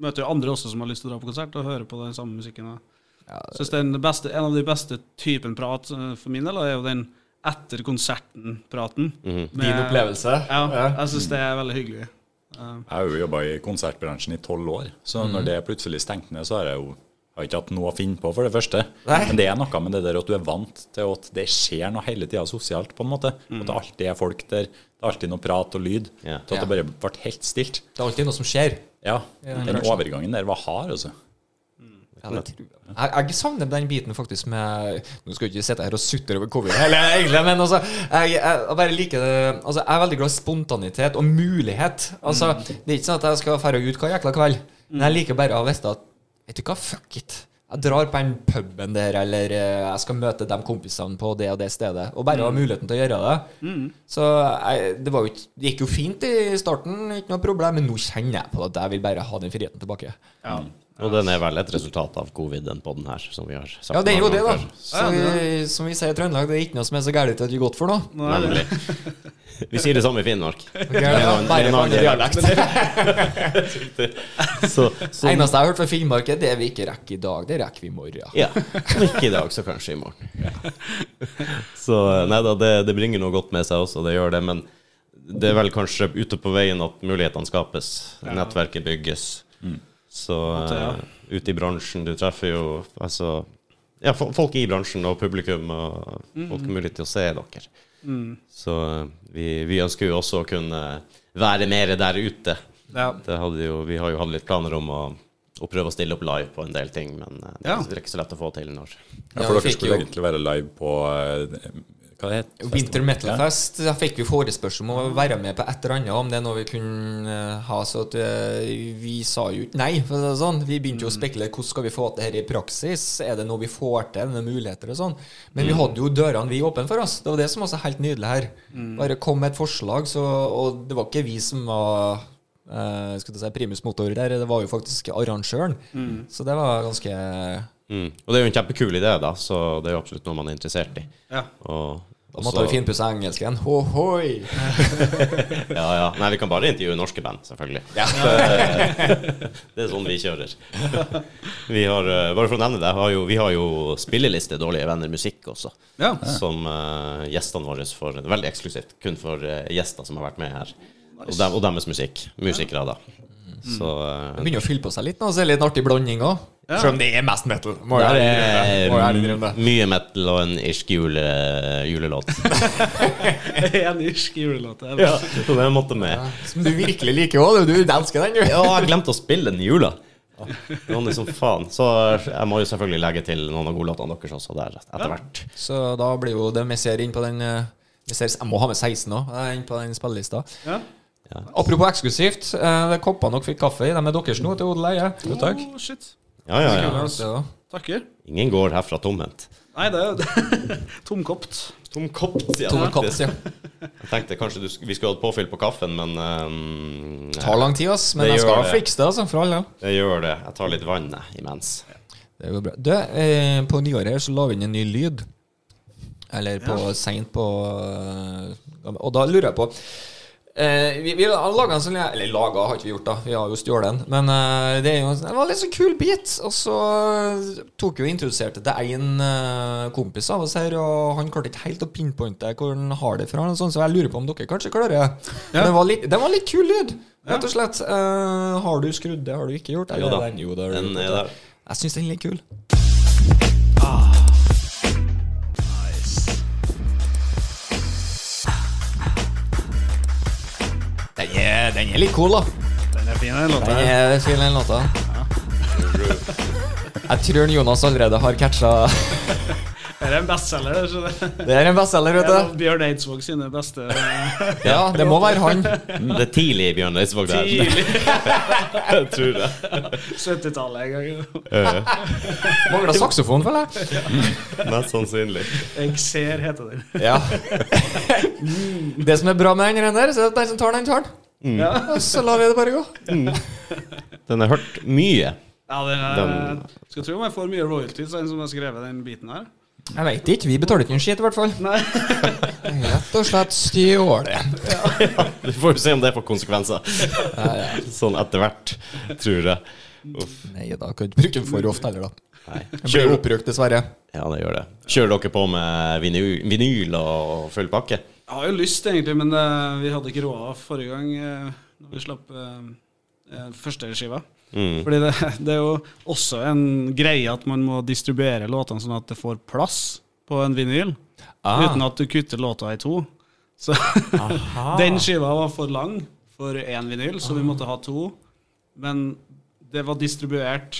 møter jo andre også som har lyst til å dra på konsert og høre på den samme musikken. Og.
Ja,
Synes det er den beste, en av de beste typen prat eh, for min del er jo den etter konserten-praten.
Mhm. din opplevelse.
Ja, jeg syns det er veldig hyggelig. Eh,
Jeg har jo jobba i konsertbransjen i tolv år, så
Mm.
når det plutselig stengte ned, så har jeg jo har ikke hatt noe å finne på, for det første.
Nei.
Men det er noe med det der at du er vant til at det skjer noe hele tida sosialt, på en måte.
Mm.
At det alltid er folk der. Det er alltid noe prat og lyd.
Ja.
Til at det bare ble helt stilt.
Det er alltid noe som skjer.
Ja.
Ja,
Den
kanskje.
overgangen der var hard, altså.
Ja, det tror jeg. Jeg, jeg savner den biten faktisk med Nå skal jeg ikke sitte her og sutre over covid, heller, egentlig, men altså jeg, jeg bare liker det Altså, jeg er veldig glad i spontanitet og mulighet. Altså, Det er ikke sånn at jeg skal dra ut hver jækla kveld, men jeg liker bare å vite at Vet du hva, fuck it. Jeg drar på den puben der, eller eh, jeg skal møte de kompisene på det og det stedet. Og bare ha muligheten til å gjøre det. Så jeg, det, var jo, ikke- det gikk jo fint i starten, ikke noe problem, men nå kjenner jeg på at jeg vil bare ha den friheten tilbake.
Og den er vel et resultat av covid, den podden her, som vi har sagt.
Ja, det er jo
mange
det, da.
ganger før.
Så, vi- som vi sier i Trøndelag, det er ikke noe som er så gærent at det går godt for noe.
nå er det-
Nemlig. Vi sier det samme i Finnmark.
Bare
en
på andre
annen
dialekt.
Så, så
Eneste jeg har hørt fra Finnmark, er det vi ikke rekker i dag. Det rekker vi i morgen.
ja. Om ikke i dag, så kanskje i morgen. Så nei da, det, det bringer noe godt med seg også, det gjør det. Men det er vel kanskje ute på veien at mulighetene skapes. Nettverket bygges. Så
Mm. ja.
eh, ute i bransjen, du treffer jo altså Ja, fo- folk i bransjen og publikum, og
Mm.
folk har mulighet til å se dere. Så eh, vi, vi ønsker jo også å kunne være mer der ute.
Ja.
Det hadde jo, vi har jo hatt litt planer om å, å prøve å stille opp live på en del ting, men eh, det
Ja.
er ikke så lett å få til når
Ja,
Ja,
for
vi
dere
fikk
skulle
jo-
egentlig være live på eh, Hva det heter
Winter Metal Fest da fikk vi forespørsel om å være med på et eller annet, om det er noe vi kunne eh, ha. Så at eh, vi sa jo ikke nei, for å si det sånn. Vi begynte jo å spekulere hvordan skal vi få til dette i praksis. Er det noe vi får til, er det noen muligheter og sånn? Men vi hadde jo dørene vi åpne for oss. Det var det som også er helt nydelig her. Bare kom med et forslag, så, og det var ikke vi som var eh, skulle jeg si, primus motor der, det var jo faktisk arrangøren. Så det var ganske
Mm. Og det er jo en kjempekul idé, da, så det er jo absolutt noe man er interessert i.
Ja.
Og,
Da måtte vi finpusse engelsken. Hohoi!
ja, ja. Nei, vi kan bare intervjue norske band, selvfølgelig. det er sånn vi kjører. Vi har, eh, bare for å nevne det, har jo, vi har jo spilleliste Dårlige venner musikk også,
Ja.
som eh, gjestene våre får. Veldig eksklusivt, kun for eh, gjester som har vært med her. Og, dem, og deres musikk. Musikere, da.
Mm.
Så eh,
Det begynner å fylle på seg litt nå, så er det litt artig blanding òg.
Ja.
Selv om det er mest metal. Må
Ja,
jeg
det
ærlig
er
innrømme. Må jeg ærlig innrømme det.
mye metal og en irsk jule, julelåt.
En irsk julelåt. det er
Ja, så det måtte med.
mm. Som du virkelig liker òg. Du du elsker den, du.
Ja, jeg glemte å spille den i jula. Det var liksom faen. Så jeg må jo selvfølgelig legge til noen av godlåtene deres også der etter hvert.
Så da blir jo det vi ser inn på den eh, vi ser, Jeg må ha med 16 òg, inn på den spillelista.
Ja.
Apropos eksklusivt. eh, Det er koppene dere fikk kaffe i, de er deres nå, til odel og eie.
Jo, takk.
Å, Oh, shit.
Ja, ja, ja.
Ja, så-
Takker.
Ingen går herfra tomhendt.
Nei, det er tomkopt.
Tom kopp, sier
Tom
jeg
Kaps,
faktisk.
ja.
Jeg tenkte kanskje du, sk- vi skulle hatt påfyll på kaffen, men ehm,
Tar lang tid, ass, men
Det
jeg
gjør
skal
det.
fikse det, altså, for alle.
jeg gjør det. Jeg tar litt vann jeg, imens.
Det går bra. Du, eh, på nyåret her så la vi inn en ny lyd. Eller på seint på eh, Og da lurer jeg på eh, Vi, vi har laga en sånn Eller laga har ikke vi gjort, da. Vi har jo stjålet den. Men eh, det er jo en sånn- det var en litt sånn kul bit. Og så tok vi og introduserte til en eh, kompis av oss her, og han klarte ikke helt å pinpointe hvor han har det fra. Og sånn, så jeg lurer på om dere kanskje klarer det. Det var litt, det var litt kul lyd, rett og slett. Eh, har du skrudd det? Har du ikke gjort?
Jo da.
Eller den- Jo, det har du
Den
gjort,
er
vet du.
der.
Jeg syns den er litt kul. Ah. Den er, den er litt cool, da.
Den er fin, den låta.
Den
her.
er fin, den låta. Jeg tror Jonas allerede har catcha
Det er en bestselger, det. Så det
Det er en bestselger,
det er
vet
noe
du.
Bjørn Eidsvåg sine beste eh,
Ja, det må være han.
eh, Det er tidlig i Bjørn Eidsvåg der.
tidlig
Jeg tror det.
70-tallet en gang.
Mangler saksofon, føler jeg.
Mest sannsynlig.
Jeg ser, heter den.
Ja. Det som er bra med den rennen der, så er at den som tar den, tar den.
Ja.
Og så lar vi det bare gå.
Den har hørt mye.
Ja, den er, eh,
Den-
skal tro om jeg får mye royalties, den som har skrevet den biten her.
Jeg veit ikke. Vi betaler ikke en skitt, i hvert fall.
Nei.
Rett og slett stjåle.
Vi får jo se om det får konsekvenser. Sånn etter hvert, tror jeg. Uff.
Nei da, kan ikke bruke den for ofte heller, da.
Nei.
Den blir
Kjører,
oppbrukt, dessverre.
ja, det gjør det. Kjører dere på med vinyl, vinyl og full pakke?
Jeg har jo lyst, egentlig, men eh, vi hadde ikke råd forrige gang eh, Når vi slapp eh, eh, første skiva.
Mm.
Fordi det, det er jo også en greie at man må distribuere låtene sånn at det får plass på en vinyl.
Ah.
Uten at du kutter låta i to. Så
Ah.
den skiva var for lang for én vinyl, så vi måtte ha to. Men det var distribuert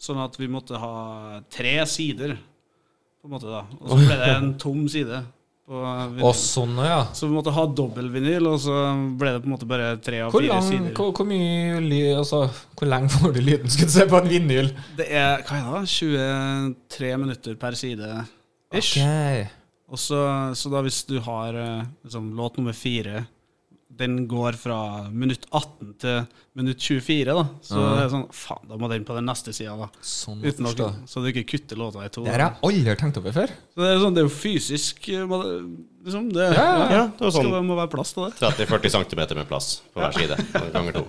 sånn at vi måtte ha tre sider, på en måte, da. Og så ble det en tom side. På vinyl.
Å, sånn, ja.
Så vi måtte ha dobbel vinyl, og så ble det på en måte bare tre av
Hvor,
fire
lang,
sider.
hvor, hvor mye ly- altså, Hvor lenge får du lyden skulle du se på en vinyl?
Det er hva er det, da? 23 minutter per side. Ish. Og så, så da hvis du har eh, liksom, låt nummer fire Den går fra minutt 18 til minutt 24, da. Så det er sånn Faen, da må den på den neste sida, da.
Sånn
Uten å,
forstå.
så du ikke kutter låta i to.
Det har jeg aldri tenkt over før.
Så det er, sånn, det er jo fysisk eh, må det- liksom, det,
Ja,
Ja, det var
Skal,
sånn
det må være plass til det.
30-40 cm med plass på hver side. Ganger to.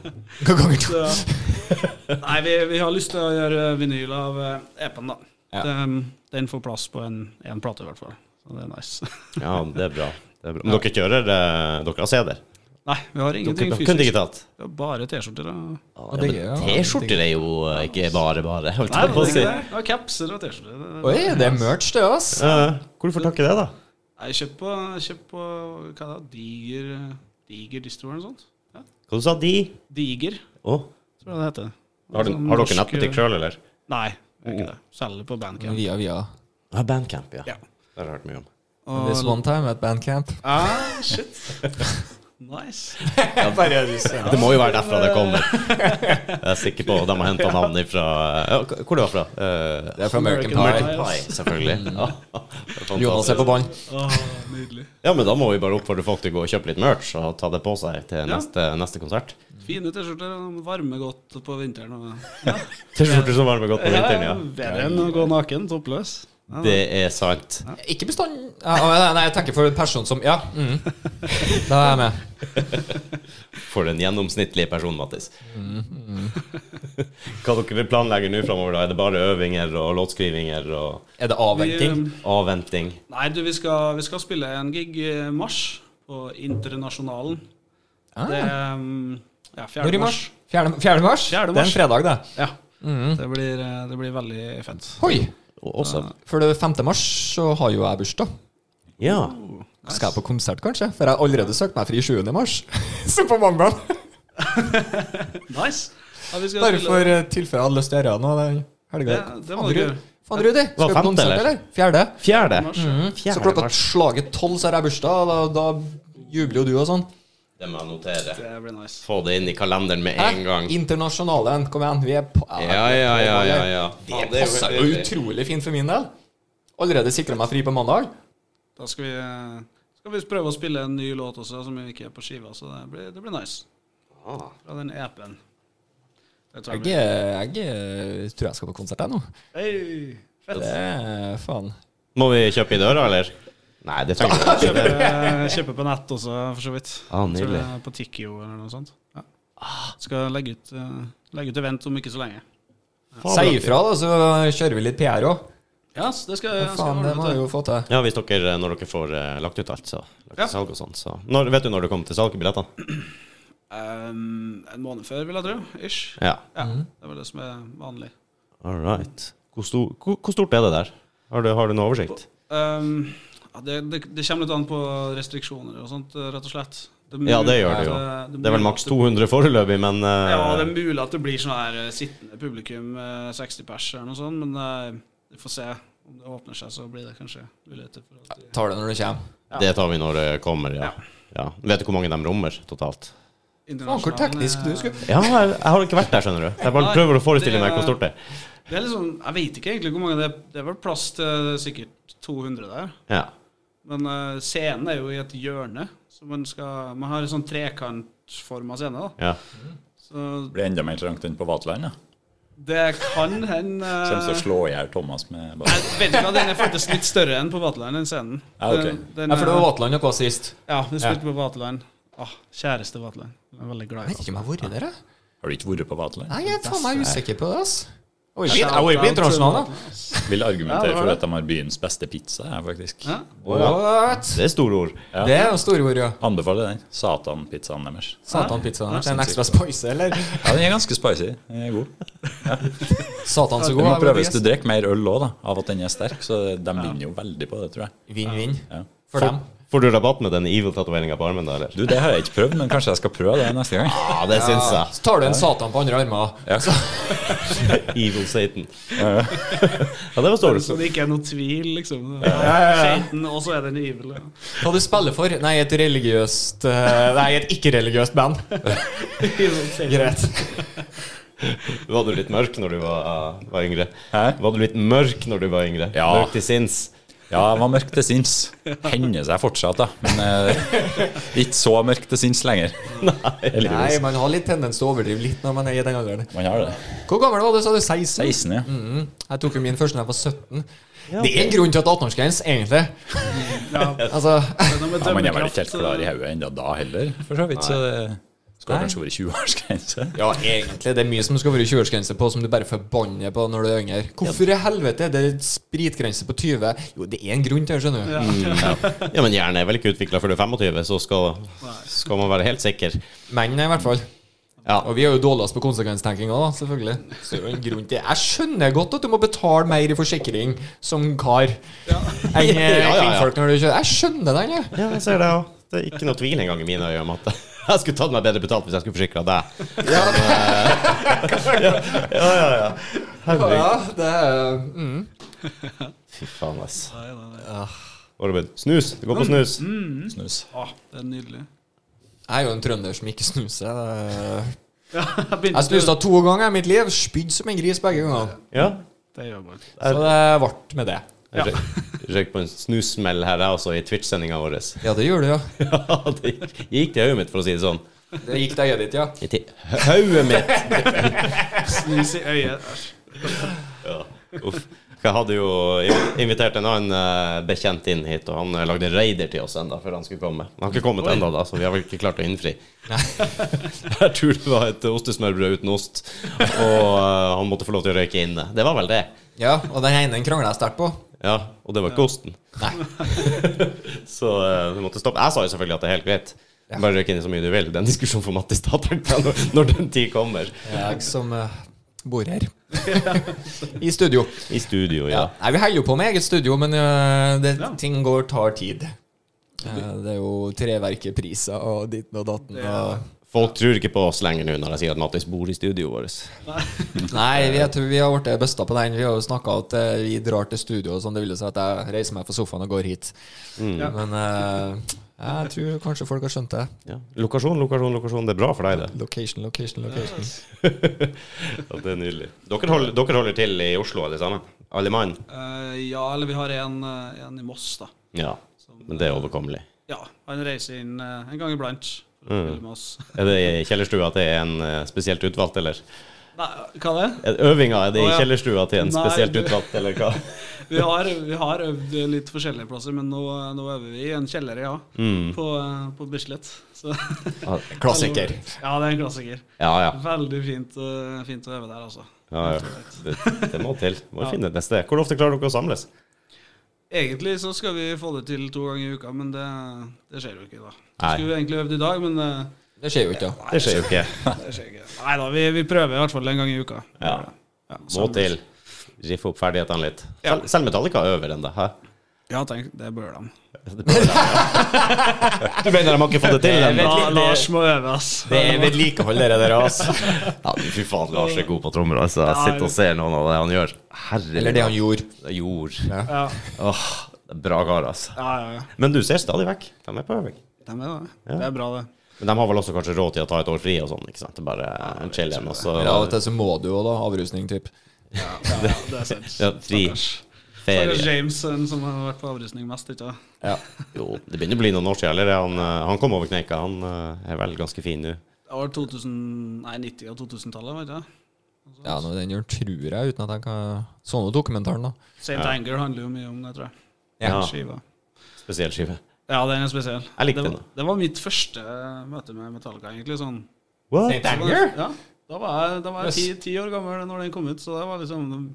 Hva ganger to?
Så, nei, vi, vi har lyst til å gjøre vinyl av eh, EP-en, da.
Ja.
Den, den får plass på en, en plate, i hvert fall. Så det er nice.
Ja, det er bra. Det er bra. Men dere kjører eh, Dere har CD-er?
Nei, vi har ingenting
Dere- Kun
fysisk.
digitalt?
Vi har bare T-skjorter. og-
Ja, det er jo-
T-skjorter er jo eh, ikke bare bare. Holdt
Nei,
jeg på å si.
det er ja, capser og T-skjorter. Det-
Oi, det er merch, det, ass.
Eh, Hvor får dere det, da?
Nei, Jeg kjøpte på, kjøpt på hva da, Diger Diger distro eller noe sånt. Ja.
Hva du sa de?
Diger,
Å,
tror jeg det heter.
har, du, har
Sånn
dere Oh.
norsk-
nettbutikk sjøl, eller?
Nei, det er ikke det. selger på Bandcamp.
Via, via.
Ja, Bandcamp,
Ja.
Det har jeg hørt mye om.
This one time at bandcamp.
Ah, shit. Nice.
Det må jo være derfra det kommer. Jeg er sikker på De har henta navn ifra ja, k- Hvor det var fra? Eh,
Det er fra American
American
Pie. Mm.
Pie.
selvfølgelig. Ja, det er
Jonas er
fantastisk.
på bånn.
Åh, nydelig.
ja, men da må vi bare oppfordre folk til å gå og kjøpe litt merch og ta det på seg til neste, neste konsert.
Fine T-skjorter, og varmer godt på vinteren. Og,
T-skjorter som varmer godt på
ja,
vinteren, ja.
bedre enn å gå naken, toppløs. Ja,
Det er sant.
Ikke bestand... Ja, å, nei, nei, jeg tenker for en person som Ja. Mm. Da er jeg med.
For den gjennomsnittlige personen, Mattis.
Mm-hmm.
Hva dere planlegger nå framover, da? Er det bare øvinger og låtskrivinger og
Er det avventing?
Vi, um,
avventing?
Nei, du, vi skal, vi skal spille en gig i mars på Internasjonalen. Det
Ah,
er um, ja, 4.
Når i mars?
mars.
4. mars? Det
Fjerde
er en
mars.
fredag, det.
Ja.
Mhm.
Det, blir, eh, det blir veldig fett.
Hoi!
Og også
For det 5. mars så har jo jeg bursdag.
Ja.
Skal jeg på konsert, kanskje? For jeg har allerede søkt meg fri 7. mars. Så på mandag.
Nice! Ja, vi skal
Bare
spille-
for eh, tilfelle jeg hadde lyst til å gjøre noe den helga.
Det- det må du gjøre.
Faen, Rudi.
Hva,
Skal du på
femte,
konsert,
eller?
eller? Fjerde?
Fjerde.
Så klokka slaget tolv så har jeg bursdag, og da, da jubler jo du og sånn.
Det må jeg notere.
Det blir nice.
Få det inn i kalenderen med en gang.
Internasjonalen, kom igjen. Vi er på
Ja, ja, ja, ja. ja.
Det passer jo utrolig fint for min del. Allerede sikra meg fri på mandag.
Da skal vi, eh, skal vi prøve å spille en ny låt også, som ikke er på skiva. Så det blir, det blir nice. Fra den EP-en. Det tar
Jeg,
vi.
eh, jeg eh, tror jeg skal på konsert, jeg nå.
Hey, fett.
Det er faen.
Må vi kjøpe i døra, eller? Nei, det trenger vi ikke.
Kjøpe, kjøpe eh, på nett også, for så vidt.
Ah,
Tror
nydelig.
det er På Tikkio eller noe sånt. Ja. Skal legge ut, eh, legge ut event om ikke så lenge.
Si ifra, da, så kjører vi litt PR òg.
Ja, yes, det skal jeg
Faen, det må vi jo få til.
Ja, hvis dere, når dere får eh, lagt ut alt, så lagt ut
Ja.
salg og sånn, så når, Vet du når det kommer til salg, billettene?
en måned før, vil jeg tro. Ish.
Ja.
Ja,
Mhm.
Det er vel det som er vanlig.
All right. Hvor, stor, hvor, hvor stort er det der? Har du, har du noe oversikt?
Ehm, ja, det, det, det kommer litt an på restriksjoner og sånt, eh, rett og slett. er
Ja, det
mulig
gjør det jo.
at, eh,
Det er vel
mulig
maks
at det-
200 foreløpig, men eh,
Ja, det er mulig at det blir sånn her eh, sittende publikum, eh, 60 pers eller noe sånt, men eh, vi får se. om det åpner seg, så blir det kanskje muligheter for at de-
Tar det når det kommer.
Det tar vi når det kommer, ja. ja. Vet du hvor mange de rommer totalt?
Faen, hvor teknisk du skulle
Ja, jeg, jeg har ikke vært der, skjønner du. Jeg bare
Nei,
prøver å forestille
det-
meg hvor stort det er.
Det er liksom, jeg vet ikke egentlig hvor mange det er. Det er vel plass til sikkert 200 der.
Ja.
Men eh, scenen er jo i et hjørne. Så man, skal, man har en sånn trekantforma scene. da.
ja.
Så
Det blir enda mer trangt enn på Vaterland. Ja.
det kan hende eh,
Kommer til å slå i hjel Thomas med bare.
Jeg vet ikke, Den er faktisk litt større enn på Vaterland, den scenen.
Ja, ok.
Den- den
Ja, for det var
er-
Vatland dere var sist.
Ja, vi spilte på Vaterland. Åh, kjæreste Vaterland. Jeg er veldig glad
Jeg
i
vet ikke om jeg har vært der, jeg.
Har du ikke vært på Vaterland?
Nei, jeg er faen meg usikker på det, ass. Oi,
Vaterland.
shit, Jeg var jo på internasjonal, da.
Vil argumentere
Ja, det var
for
det.
at de har byens beste pizza, jeg, faktisk.
Ja.
What?
Det er store ord.
Ja.
Det er jo storord, ja.
Anbefaler den. Satan-pizzaen deres.
Satanpizza.
Ja,
En ekstra
sinnssykt.
spice, eller?
Ja, den er ganske spicy. Den er god.
Satan så
Det
god.
må
jeg var
prøves.
på
Du drikker mer øl òg, da, av at den er sterk. Så de vinner jo veldig på det, tror jeg.
gjest. Vinn-vinn
Ja.
for dem.
Får du rabatt med den evil-tatoveringa på armen, da, eller?
Du, det har jeg ikke prøvd, men kanskje jeg skal prøve det neste gang.
Ja, det syns
Ja,
jeg.
Så tar du en Satan på andre armer.
Ja.
Evil Satan. Ja, det var
Vaterland.
stort.
Så det ikke er noe tvil, liksom. Satan, og så er den evil. Ja.
Hva du spiller for? Nei, et religiøst eh, Nei, et ikke-religiøst band.
Evil Satan.
Greit.
Var du litt mørk når du var, ah, var yngre?
Hæ?
Var du litt mørk når du var yngre?
Ja.
Mørk til sinns?
Ja, jeg var mørk til sinns. Hender seg fortsatt, da. Men eh, ikke så mørk til sinns lenger.
Nei, man har litt tendens til å overdrive litt når man er i den alderen.
Man har det.
Hvor gammel var du, sa du? 16?
16, ja.
Mm. Jeg tok jo min første da jeg var 17. Det er en grunn til at 18-årsgrense, egentlig.
Ja,
Altså,
det er noe med
ja man er vel ikke
dømmekraft,
helt klar i hodet ennå da heller, for så vidt. Så det skal
Nei.
kanskje være 20-årsgrense.
ja, egentlig. Det er mye som skal være 20-årsgrense på, som du bare forbanner på når du er yngre. Hvorfor i helvete er det spritgrense på 20? Jo, det er en grunn til det, skjønner du.
Ja, men hjernen er vel ikke utvikla før du er 25, så skal, skal man være helt sikker.
Menn, i hvert fall.
Ja.
Og vi er jo dårligst på konsekvenstenking òg, selvfølgelig. Så det er jo en grunn til Jeg skjønner godt at du må betale mer i forsikring som kar enn eh,
Ja, ja, ja.
kvinnfolk når du kjører. Jeg skjønner den, jeg.
ja, jeg ser det òg. Det er ikke noe tvil engang i mine øyne om at jeg skulle tatt meg bedre betalt hvis jeg skulle forsikra deg.
Ja, det er, mm.
Fy faen, ass.
Nei, nei, nei.
Orben. Snus. Det går på snus.
Snus.
Åh, det er nydelig.
Jeg er jo en trønder som ikke snuser. det er-
Ja,
Jeg snuste to ganger i mitt liv. Spydde som en gris begge ganger.
Ja.
Det gjør man.
Så det ble med det.
Ja.
Jeg røy- røyk på en snussmell her, jeg også, i Twitch-sendinga vår.
Ja, det gjør du, ja.
Ja, det gikk, gikk til hodet mitt, for å si det sånn.
Det gikk deg ditt, ja.
I ti- Hodet mitt!
Snus i øyet. Æsj.
Uff. Jeg hadde jo inv- invitert en annen eh, bekjent inn hit, og han eh, lagde raider til oss enda før han skulle komme. Han har ikke kommet ennå, da, så vi har vel ikke klart å innfri. Jeg tror det var et ostesmørbrød uten ost, og eh, han måtte få lov til å røyke inne. Det var vel det.
Ja, Og den ene krangla jeg sterkt på.
Ja, og det var ikke osten.
Nei.
Så eh, vi måtte stoppe. Jeg sa jo selvfølgelig at det er helt greit. Bare røyk inne så mye du vil. Den diskusjonen får Mattis ta tenker jeg, når- når den tid kommer.
Jeg som eh, bor her. I studio.
I studio,
Ja.
ja.
Nei, vi holder jo på med eget studio, men øh, det,
Ja.
ting går tar tid. Eh, det er jo treverkepriser og ditten og datten. Og...
Folk tror ikke på oss lenger nå når jeg sier at Mattis bor i studioet vårt.
Nei, vi, jeg tror vi har blitt besta på den. Vi har jo snakka at eh, vi drar til studio, og sånn det ville si at jeg reiser meg fra sofaen og går hit.
Mm.
Ja.
Men eh, jeg tror kanskje folk har skjønt det.
Ja. Lokasjon, lokasjon, lokasjon. Det er bra for deg, det.
Location, location, location.
Ja, det er nydelig. Dere holder, dere holder til i Oslo, alle sammen? Alle mann?
Eh, ja, eller vi har en, eh, en i Moss, da.
Ja. Men det er overkommelig.
Ja, han reiser inn eh, en gang iblant. for å spille med oss.
Er det i kjellerstua til en eh, spesielt utvalgt, eller?
Nei, hva det?
Er Øvinga, er det
Å,
i
ja.
kjellerstua til en
Nei,
spesielt
du-
utvalgt, eller hva?
Vi har, vi har øvd litt forskjellige plasser, men nå, nå øver vi i en kjeller, ja.
Mm.
På, eh, på Bislett. Så.
Klassiker.
Ja, det er en klassiker.
Ja, ja.
Veldig fint, eh, fint å øve der, altså.
ja, ja. Det, det må til. Må finne et neste. Hvor ofte klarer dere å samles?
Egentlig så skal vi få det til to ganger i uka, men det, det skjer jo ikke, da.
Nei.
Skulle vi egentlig øvd i dag, men eh,
Det skjer jo ikke, da.
Det skjer jo ikke.
det skjer ikke. Nei da, vi, vi prøver i hvert fall en gang i uka.
Ja.
Ja,
Må
samles.
til. Riffe opp ferdighetene litt.
Ja.
Selv- Selv Metallica øver ennå, hæ?
Ja, tenk, det bør de.
Du mener de har ikke fått det til ennå?
Eh, La, Lars må øve, ass.
Det er vedlikehold, dere der, altså.
Ja, men fy faen, Lars er god på trommer. Altså. Jeg sitter og ser noen av det han gjør. Herre
Eller det han gjorde.
Jord.
Ja,
Åh, det er bra kar, altså.
ja, ja. ja.
Men du ser stadig vekk. De er på øving.
De er det. Det er bra, det.
Men de har vel også kanskje råd til å ta et år fri og sånn, ikke sant? Det er Bare en chill igjen, og så
Ja, og til så må du jo, da. Avrusning, typ.
Ja, ja, ja, det er sant.
ja, fri
Stakkars. Stakkars
ferie.
James, den som har vært på avrusning mest, ikke sant?
Ja.
Jo, det begynner å bli noen år siden, eller? Han, eh, han kom over kneika. Han eh, er vel ganske fin nå.
Det var 2000, nei, 90- og 2000-tallet, vet du.
Ja, nå, den gjør tror jeg, uten at jeg kan Sånn jo dokumentaren, da.
Saint Anger handler jo mye om det, tror jeg.
Ja.
Den Skiva.
Spesiell skive.
Ja, den er spesiell.
Jeg likte
det var,
den.
Det var mitt første eh, møte med Metallica, egentlig. sånn.
Saint
Så
Anger?
var- Ja, da var jeg, da var jeg ti, ti år gammel når den kom ut, så det var liksom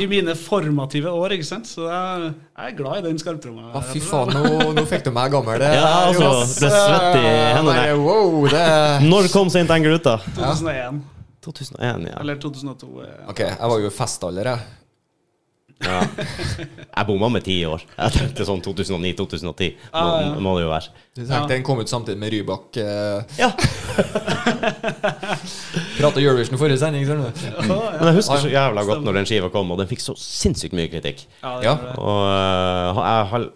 I mine formative år, ikke sant. Så jeg, jeg er glad i den skarptromma.
Ja, fy faen, nå, nå fikk du meg gammel. Det,
Ja, altså,
Jonas.
ble svett i hendene.
Nei, Wow, det
Når kom St. Anger ut, da?
2001,
2001, ja.
eller 2002. eh.
Ok, jeg var jo i festalder, jeg.
ja. Jeg bomma med ti år. Jeg tenkte sånn 2009-2010. Må,
Ah, Ja, ja.
må det jo være.
Du tenkte Den kom ut samtidig med Rybak. Eh,
Ja.
Prata Eurovision i forrige sending, ser du.
Men jeg
Ah,
husker så jævla godt når den skiva kom, og den fikk så sinnssykt mye kritikk.
Ja, det
Ja.
gjorde det.
Og øh, jeg, har-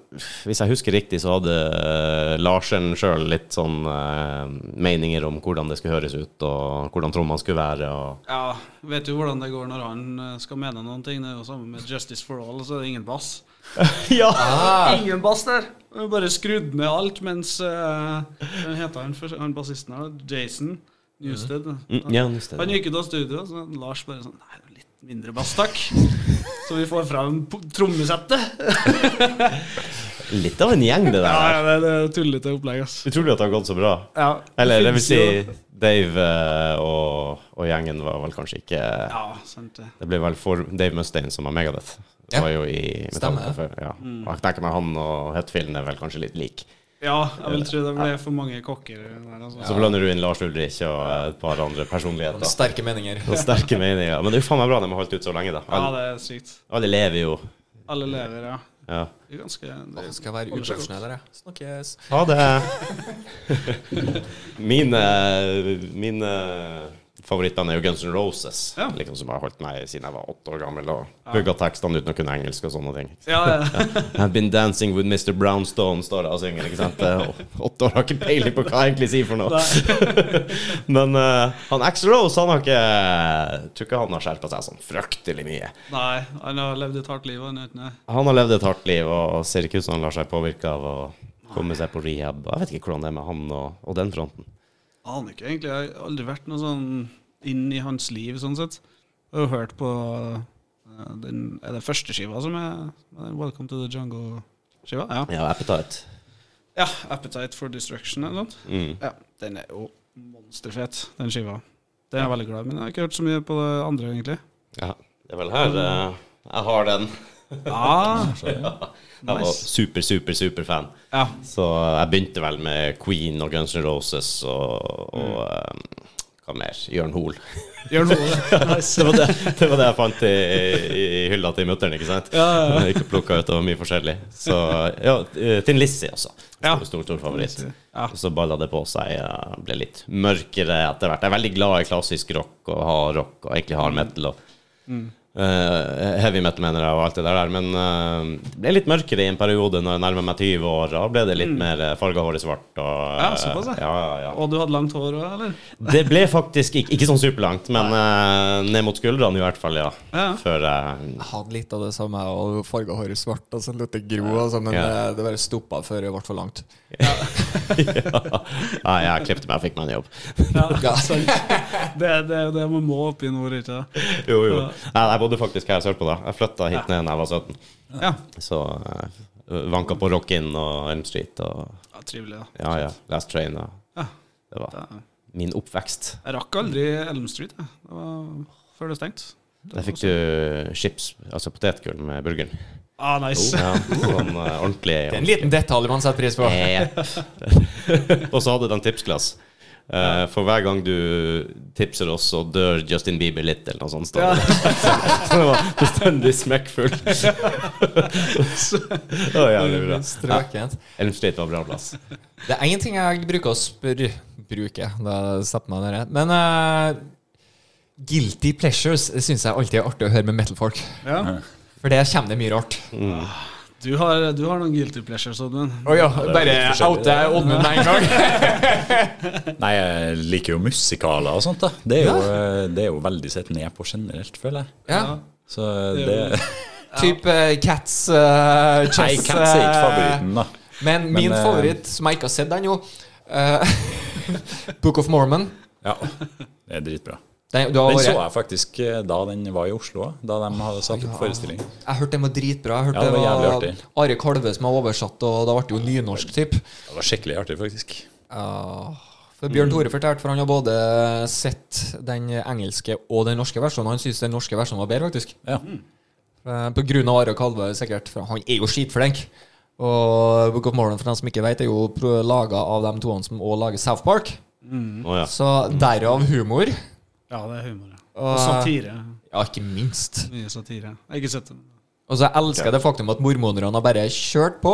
hvis jeg husker riktig, så hadde øh, Larsen sjøl litt sånn øh, meninger om hvordan det skulle høres ut, og hvordan trommene skulle være. Og
Ja, vet jo hvordan det går når han eh, skal mene noen ting. Det er jo samme med Justice for All, så er det ingen bass. Ingen bass der! Det er Bare skrudd ned alt, mens eh, Hva heter han, først- han bassisten her? da? Jason Newsted.
Mm, ja, just
Han
det.
gikk ut av studio, så Lars bare sånn Nei, det er litt mindre bass, takk. Så vi får fram po- trommesettet.
Litt av en gjeng, det der.
Ja, ja, det, det er tullete opplegg, ass.
Utrolig at det har gått så bra.
Ja,
Eller det vil
finnes
si,
jo-
Dave øh, og, og gjengen var vel kanskje ikke
Ja, sant det.
Det ble vel for Dave Mustaine som var Megadeth. Det
Ja.
var jo i
Stemmer.
Metallica før. Ja. Og jeg tenker meg han og Hetfielden er vel kanskje litt lik.
Ja, jeg vil tro det ble for mange kokker der, altså.
Så blander du inn Lars Ulrich og eh, et par andre personligheter.
Sterke meninger.
Og sterke meninger. Men det er jo faen meg bra de har holdt ut så lenge, da.
Ja,
Alle,
det er sykt.
alle lever jo.
Alle lever, ja.
Ja.
Det er ganske
Nå
det,
Skal jeg være uprofesjonell her, jeg. Snakkes.
Ha det. Mine, mine favorittband er jo Guns N' Roses,
Ja.
liksom som har holdt meg siden jeg var åtte år gammel og pugga tekstene uten å kunne engelsk og sånne ting.
Ja, ja.
I've been dancing with Mr. Brownstone, står det og synger. ikke sant? Det- Åtte år har ikke peiling på hva jeg egentlig sier for noe. Men eh, han Axl Rose, han har ikke Tror ikke han har skjerpa seg sånn fryktelig mye.
Nei, han har levd et hardt liv. Han, vet du.
Han har levd et hardt liv og ser ikke ut som han lar seg påvirke av å komme seg på rehab. Jeg vet ikke hvordan det er med han og, og den fronten.
Aner ikke, egentlig. Jeg har aldri vært noe sånn inn i hans liv, sånn sett. Jeg har jo hørt på eh, den, er det første skiva som er er det Welcome to the Jungle-skiva? Ja.
Ja, Appetite.
ja. Appetite for Destruction eller noe sånt.
Mm.
Ja, den er jo monsterfet, den skiva. Den er jeg veldig glad i, men jeg har ikke hørt så mye på det andre, egentlig.
Ja, det er vel her eh, jeg har den.
Ja,
Jeg var
Ah! nice.
super, super, super fan.
Ja,
Så jeg begynte vel med Queen og Guns N' Roses og, og eh, hva mer? Jørn Hoel.
Gjør noe. Nice.
Det var det, det var det jeg fant i, i, i hylla til mutter'n, ikke sant?
Ja, ja,
Ikke plukka ut, det var mye forskjellig. Så ja, eh, Tinn Lizzie også.
Ja.
Stor, stor, stor favoritt.
Ja.
Så balla det på seg. eh, Ble litt mørkere etter hvert. Jeg er veldig glad i klassisk rock og hard rock, og egentlig hard metal og
Mm.
eh, heavy metal, mener jeg, og alt det der. Men eh, det ble litt mørkere i en periode når jeg nærmer meg 20 år. Da ble det litt mer eh, farga hår i svart. Og,
Mm.
eh,
Ja, såpass, ja.
ja, ja, ja.
Og du hadde langt hår òg, eller?
Det ble faktisk ikke, ikke sånn superlangt, men eh, ned mot skuldrene i hvert fall, ja.
Ja.
Før eh, jeg
Jeg hadde litt av det samme, og farga håret svart, og så lot det gro, altså, men
Ja.
eh, det bare stoppa før det ble for langt.
ja. Nei, jeg klippte meg og fikk meg en jobb.
Ja.
Det er det, det man må opp i nord, ikke sant?
Jo, jo. Nei, jeg bodde faktisk her sørpå da. Jeg flytta hit ned da jeg var 17.
Ja.
Så eh, vanka på Rock In og Elm Street og
ja, trivelig, da.
ja, ja, Last Train og
Ja.
Det var
da.
min oppvekst.
Jeg rakk aldri Elm Street jeg. Det var før det stengte.
Der fikk du chips, altså potetgull med burgeren.
Ah, nice.
Ja, sånn eh,
Det
ordentlig.
er en liten detalj man setter pris på.
Jepp. og så hadde de tipsglass. Eh, for hver gang du tipser oss, så dør Justin Bieber litt, eller noe sånt. står det. så det var bestandig smekkfull. det var jævlig bra.
Strøkent.
Elm Street var bra plass.
Det er én ting jeg bruker å spørre Bruker, da setter meg ned rett. Men eh, guilty pleasures syns jeg alltid er artig å høre med metal-folk.
Ja.
For det kommer det mye rart.
Du, har, du har noen guilty pleasures, Oddmund.
Å ja, bare
litt forskjellig,
oute jeg Oddmund med en gang.
Nei, jeg liker jo musikaler og sånt. da Det er jo, eh, det er jo veldig sett ned på generelt, føler jeg.
ja.
Så
Det
det
er jo-
Type eh, Cats, uh, Chess
Nei, Cats er ikke
eh,
favoritten, da.
Men min
eh,
favoritt, som jeg ikke har sett ennå, eh, Book of Mormon.
Ja, det er dritbra.
Den, du har
Den
vært,
så
jeg.
jeg faktisk eh, da den var i Oslo, da de hadde satt opp forestilling.
hørte den var dritbra. Jeg hørte
Ja, det var
det var
jævlig artig.
Are Kalve som har oversatt, og da ble det jo nynorsk, typ.
Det var skikkelig artig, faktisk.
Ja, for Bjørn Tore fortalte, for han har både sett den engelske og den norske versjonen. Han syns den norske versjonen var bedre, faktisk.
Ja.
Eh, På grunn av Are Kalve, sikkert. For han er jo skitflink. Og Book of Mormon, for dem som ikke vet, er jo laga av de to som også lager South Park.
Å ja.
Så derav humor.
Ja, det er humor. Ja.
Og-
Og satire.
Ja, ikke minst.
Mye satire. Jeg har ikke sett det.
Og så elsker jeg det faktum at mormonerne har bare kjørt på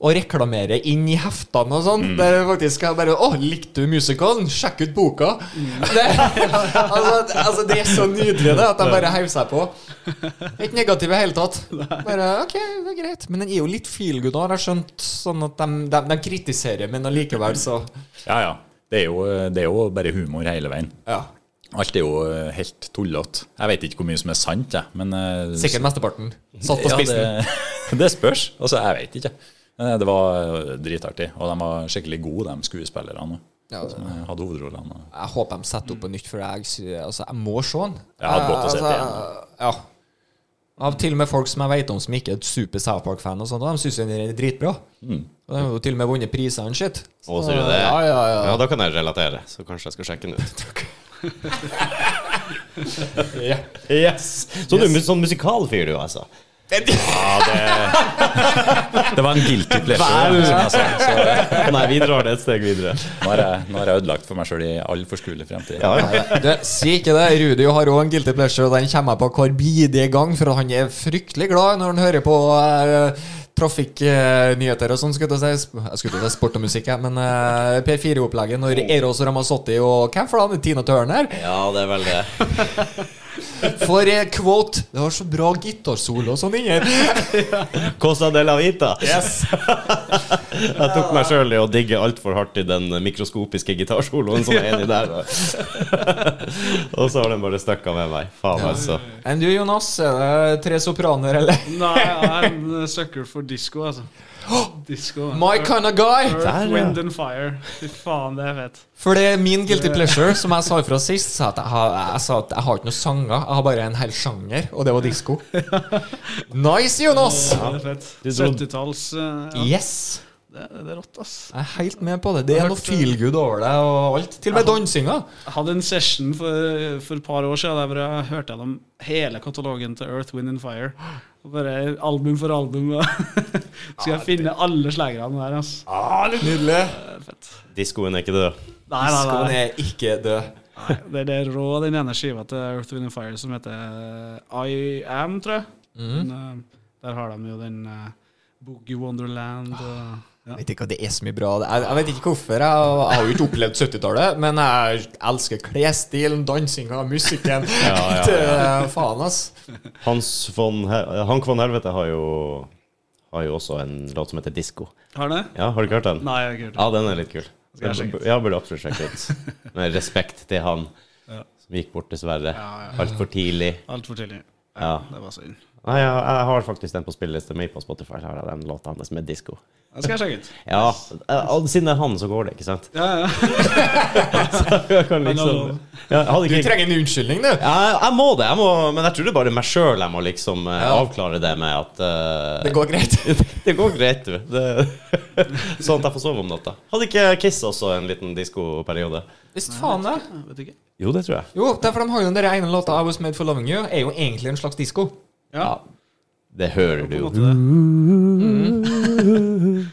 og reklamerer inn i heftene og sånn. Der jeg faktisk er bare Å, likte du musikalen? Sjekk ut boka! Det, altså, altså, det er så nydelig, det, at de bare heiver seg på. Ikke negative i det hele tatt. Bare OK, det er greit. Men den er jo litt feelgood, har jeg skjønt. Sånn at de, de, de kritiserer, men allikevel, så
Ja, ja. Det er, jo, eh, det er jo bare humor hele veien.
Ja.
Alt er jo eh, helt tullete. Jeg vet ikke hvor mye som er sant, jeg. Men eh,
Sikkert mesteparten. Satt på
Ja,
spissen.
det, det spørs. Altså, jeg vet ikke. Men Det var eh, dritartig. Og de var skikkelig gode, de skuespillerne
Ja, altså. det-
som hadde hovedrollene.
Jeg håper de setter opp på nytt, for jeg, sy- altså, jeg må se den.
Jeg hadde godt å se
Eh,
det
ja. Av til og med folk som jeg vet om som ikke er et super South Park-fan, og sånt, og de syns den er dritbra.
Mm.
Og de har jo til og med vunnet priser og shit.
Å, sier du det?
Ja, ja, ja.
ja, da kan jeg relatere, så kanskje jeg skal sjekke den ut. Yes! Så du er mu- sånn musikalfyr, du, altså?
Det var en guilty pleasure. Som jeg sa. Så eh,
Nei, vi drar det et steg videre.
nå har jeg, nå har jeg ødelagt for meg sjøl i all forskuelig fremtid.
Ja, ja.
Du, si ikke det. Rudi har òg en guilty pleasure, og den kommer jeg på hver bidige gang, for han er fryktelig glad når han hører på eh, trafikknyheter og sånn. Skulle til å si sp- Jeg skulle til å si sport og musikk, jeg, men eh, P4-opplegget når Eros Ramazzotti og hvem for da? Tina Turner
ja, det er vel det.
For eh, quote Det har så bra gitarsolo og sånn inni her.
Cosa de la Vita. jeg tok meg sjøl i å digge altfor hardt i den mikroskopiske gitarsoloen som er inni der. Og så har den bare stukket med meg. Faen, altså.
Enn du, Jonas? Er det tre sopraner, eller?
Nei, jeg er en sucker for disko, altså. Disko.
My kind of guy!
Earth,
Der, ja.
Wind and Fire. Fy faen, det er fett.
For det er min guilty pleasure, som jeg sa fra sist, sa at jeg, har, jeg sa at jeg har ikke noen sanger. Jeg har bare en hel sjanger, og det var disko. Nice, Jonas!
Det er fett.
Du dro-
70-talls eh, ja.
Yes!
det, er- det er rått, ass.
Jeg er helt med på det. Det er noe feelgood over det og alt. Til og med dansinga.
Jeg hadde en session for, for et par år siden der hvor jeg hørte gjennom hele katalogen til Earth, Wind and Fire. Og bare album for album. og Skal jeg finne alle slagerne der, ass.
Nydelig.
Det er fett.
Diskoen er ikke død.
Nei,
Diskoen
nei, nei.
er ikke død.
nei. Det er det rå, den ene skiva til Earth, Wind and Fire som heter eh, I Am, tror jeg.
Mhm.
Den, eh, der har de jo den eh, Boogie Wonderland
Ah,
og ja.
Jeg vet ikke at det er så mye bra. Jeg, jeg vet ikke hvorfor. Jeg, jeg har jo ikke opplevd 70-tallet, men jeg elsker klesstilen, dansinga, musikken.
ja, ja.
Til- Faen, ass.
Hans von Hel Hank von Helvete har jo, har jo også en låt som heter Disko.
Har det?
Ja, har du ikke hørt den?
Nei, jeg har ikke hørt det.
Ja, den er litt kul.
Skal jeg sjekke ut?
Ja, burde absolutt sjekke ut. Med respekt til han som gikk bort, dessverre.
Ja,
Altfor tidlig.
Altfor tidlig.
Ah. Ja.
Det var synd.
Nei, jeg, jeg har faktisk den på spillelista mi på Spotify. Så har jeg den låta hans med disko.
Den skal jeg sjekke ut.
Ja, eh, og siden det er han, så går det, ikke sant?
Ja, ja.
Jeg kan
Hallo.
liksom ja, jeg, hadde
Du
ikke,
trenger en unnskyldning, du.
ja, jeg må det, jeg må, men jeg tror det er bare meg sjøl jeg må liksom eh, avklare det med at eh,
Det går greit.
det går greit, du. Det, sånn at jeg får sove om natta. Hadde ikke Kiss også en liten diskoperiode?
Visst faen det.
Jeg vet ikke.
Jo, det tror jeg.
Jo, derfor de har jo den der ene låta I Was Made For Loving You, er jo egentlig en slags disko.
Ja,
Det hører du
på en
jo.
måte det.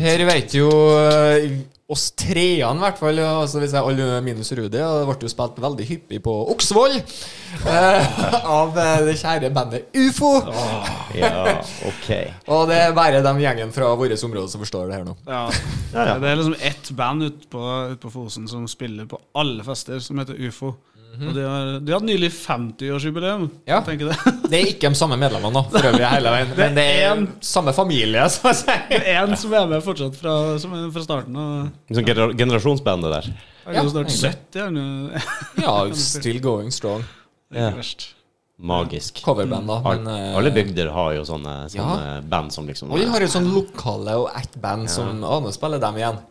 Her vet jo eh, oss treene, i hvert fall. og Altså, hvis jeg alle minus Rudi. Og det ble jo spilt veldig hyppig på Oksvoll eh, av eh, det kjære bandet Ufo.
Ja, ok.
Og det er bare de gjengen fra vårt område som forstår det her nå.
Ja.
Ja, ja.
Det er liksom ett band ute på, ut på Fosen som spiller på alle fester, som heter Ufo. Og de har, de har hatt nylig 50-årsjubileum.
Ja.
Tenker det.
Det er ikke de samme medlemmene, da, for øvrig, hele veien. Men det er samme familie, så å si.
Det er en som er med fortsatt fra, som er fra starten. Og
Sånn gener- generasjonsbandet der.
han er jo
Ja,
snart
egentlig.
70. Han er jo-
Ja, still going strong.
det er ikke verst.
Magisk.
Coverband, da.
Al-
Men, eh,
Alle bygder har jo sånne, sånne band som liksom
Og vi har et sånn lokale og ett band som Å, nå spiller dem igjen.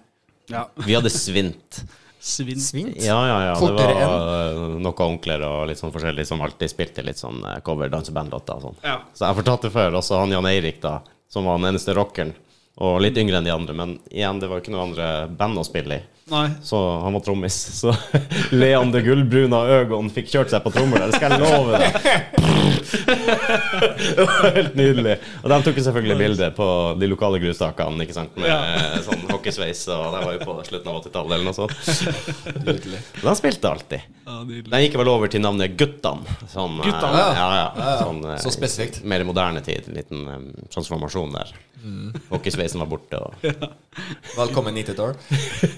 Ja.
Vi hadde svint.
Svinn.
Svint.
Ja, ja, ja. Det
Fortere
var eh, noen onkler og litt sånn forskjellig som alltid spilte litt sånn eh, cover dansebandlåter og sånn.
Ja.
Så jeg fortalte før også han Jan Eirik, da, som var den eneste rockeren. Og litt yngre enn de andre, men igjen, det var jo ikke noen andre band å spille i.
Nei.
Så han var trommis. Så Leander Gullbruna Øgon fikk kjørt seg på trommer der, det skal jeg love deg. Det var helt nydelig. Og de tok jo selvfølgelig bilde på de lokale grustakene, ikke sant, med
Ja.
sånn hockeysveis, og det var jo på slutten av 80-tallet eller noe sånt.
Nydelig.
Men han spilte alltid.
Ja, nydelig.
Den gikk vel over til navnet Guttan. Sånn, eh,
Guttan,
ja.
ja, ja,
Ja, ja.
Sånn, eh,
Så spesifikt.
Mer i moderne tid. En liten eh, transformasjon der.
Mm.
Hockeysveisen var borte, og
Velkommen 90-tall.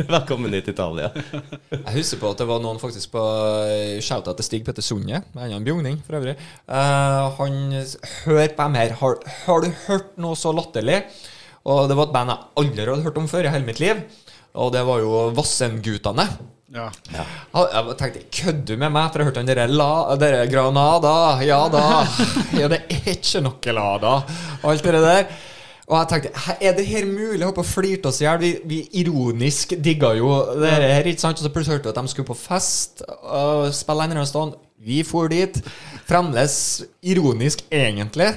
velkommen hit til Italia.
Jeg husker på at det var noen faktisk på eh, shouta til Stig Petter Sunde, en annen bjugning for øvrig. Eh, han s- Hør på dem her, har, har du hørt noe så latterlig? Og det var et band jeg aldri hadde hørt om før i hele mitt liv. Og det var jo Vassendgutane.
Ja.
Ja, Jeg bare tenkte kødder du med meg? For jeg hørte han dere la Dere Granada, ja da. Ja, det er ikke noe la da. Og alt det der. Og jeg tenkte "Hæ, er det her mulig? Jeg håper flirte oss i hjel. Vi, vi ironisk digga jo det her, ikke sant? Og så plutselig hørte vi at de skulle på fest og spille en eller annen sted. Vi for dit. Fremdeles ironisk, egentlig.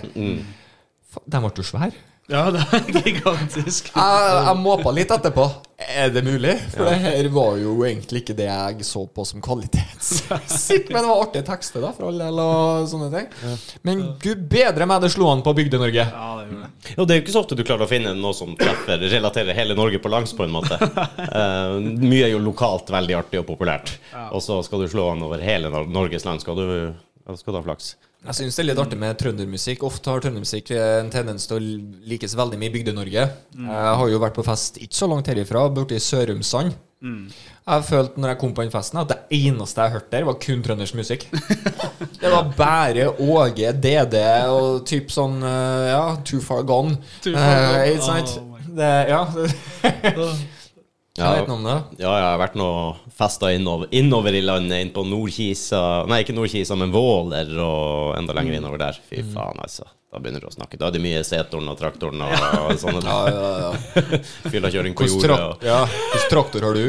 Fa- De ble jo svære.
ja, det er gigantisk.
Jeg, jeg måpa litt etterpå. Er det mulig? For det her var jo egentlig ikke det jeg så på som kvalitetsmusikk. Men det var artige tekster, da, for all del, og sånne ting. Men gud bedre meg, det slo an på Bygde-Norge.
Ja, det gjorde det.
Jo, det er jo ikke så ofte du klarer å finne noe som treffer, relaterer hele Norge på langs, på en måte. Eh, mye er jo lokalt veldig artig og populært, og så skal du slå an over hele Nor- Norges land. Skal du, ja, skal du ha flaks?
Jeg syns det er litt artig med trøndermusikk. Ofte har trøndermusikk en tendens til å likes veldig mye i Bygde-Norge.
Mm.
Jeg har jo vært på fest ikke så langt herifra, borte i Sørumsand.
Mm.
Jeg følte når jeg kom på den festen, at det eneste jeg hørte der, var kun trøndersk musikk. det var bare Åge, DD og typ sånn eh, Ja, Too Far Gone.
Too Far Gone.
Eh, ikke sant?
Oh my God.
det, ja. Jeg
Ja.
vet noe om det.
Ja, jeg har vært noe festa innover, innover i landet, inn på Nordkisa Nei, ikke Nordkisa, men Våler og enda
Mm.
lenger innover der. Fy faen, altså. Da begynner du å snakke. Da er det mye setoren og traktoren og, og sånne
Ja, ja, ja.
fyllakjøring på
Hvordan
jordet.
trak-
Og.
ja. Hvordan traktor har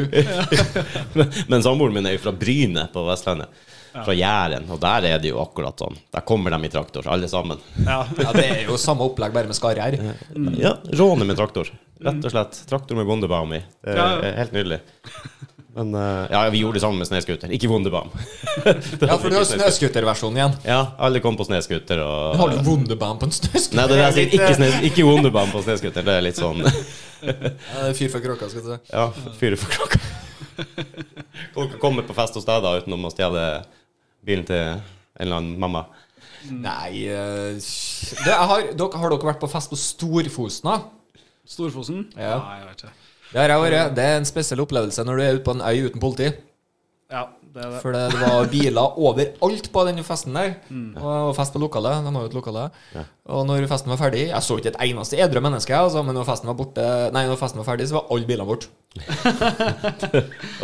du?
Men samboeren min er jo fra Bryne på Vestlandet. Fra Jæren. Og der er det jo akkurat sånn. Der kommer de i traktor, alle sammen.
Ja.
Ja, Det er jo samme opplegg, bare med skarre her.
Mm.
Ja, råne med traktor. Rett og slett. Traktor med bondebaum i. Det er
Ja, ja.
Helt nydelig. Men eh, ja, vi gjorde det sammen med snøscooter. Ikke bondebaum.
Ja, for du har jo snøskuterversjonen igjen.
Ja, alle kom på snøscooter og
Har du Wunderbaum på en snøskuter?
Nei, det er det jeg sier. Ikke, snes, ikke Wunderbaum på snøscooter. Det er litt sånn
Ja, det er Fyr for kråka, skal jeg si.
Ja, fyre for klokka. Kan dere komme på fest hos deg da uten å stjele bilen til en eller annen mamma?
Nei eh, det, jeg har, dere, Har dere vært på fest på Storfosna?
Storfosen?
Ja.
Nei, jeg vet ikke.
Det har jeg vært. Det er en spesiell opplevelse når du er ute på en øy uten politi.
Ja, det er det.
For det, det var biler overalt på den festen der. Og, og fest på lokalet. De har jo et lokale. Og når festen var ferdig Jeg så ikke et eneste edru menneske, altså, men når festen var borte Nei, når festen var ferdig, så var alle bilene borte.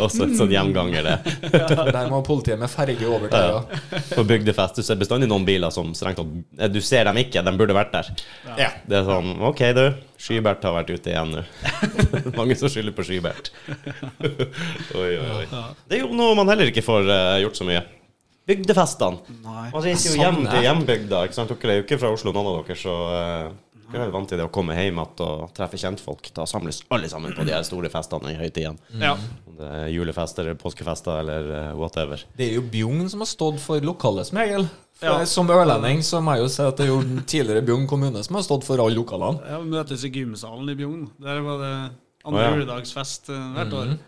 Også en sånn hjemganger, det.
Der må politiet med ferge over til øya.
På bygdefest. Du ser bestandig noen biler som strengt tatt eh, Du ser dem ikke, de burde vært der.
Ja.
Det er sånn OK, du. Skybert har vært ute igjen nå. Mange som skylder på Skybert. oi, oi, oi. Det er jo noe man heller ikke får eh, gjort så mye. Bygdefestene.
Nei.
Man reiser jo
Jeg
hjem
savner
til
Sånn det.
hjembygda. ikke sant? Dere er jo ikke fra Oslo, noen av dere, så eh, dere er jo vant til det å komme hjem igjen og treffe kjentfolk. Da samles alle sammen på de her store festene i høytidene.
Ja.
Om det er julefester, påskefester eller eh, whatever.
Det er jo Bjugn som har stått for lokalet, som regel. For
Ja.
jeg- Som ørlending så må jeg jo si at det er jo den tidligere Bjugn kommune som har stått for alle lokalene.
Ja, vi møtes i gymsalen i Bjugn. Der var det
Å,
Andre
ja.
juledagsfest eh, hvert år.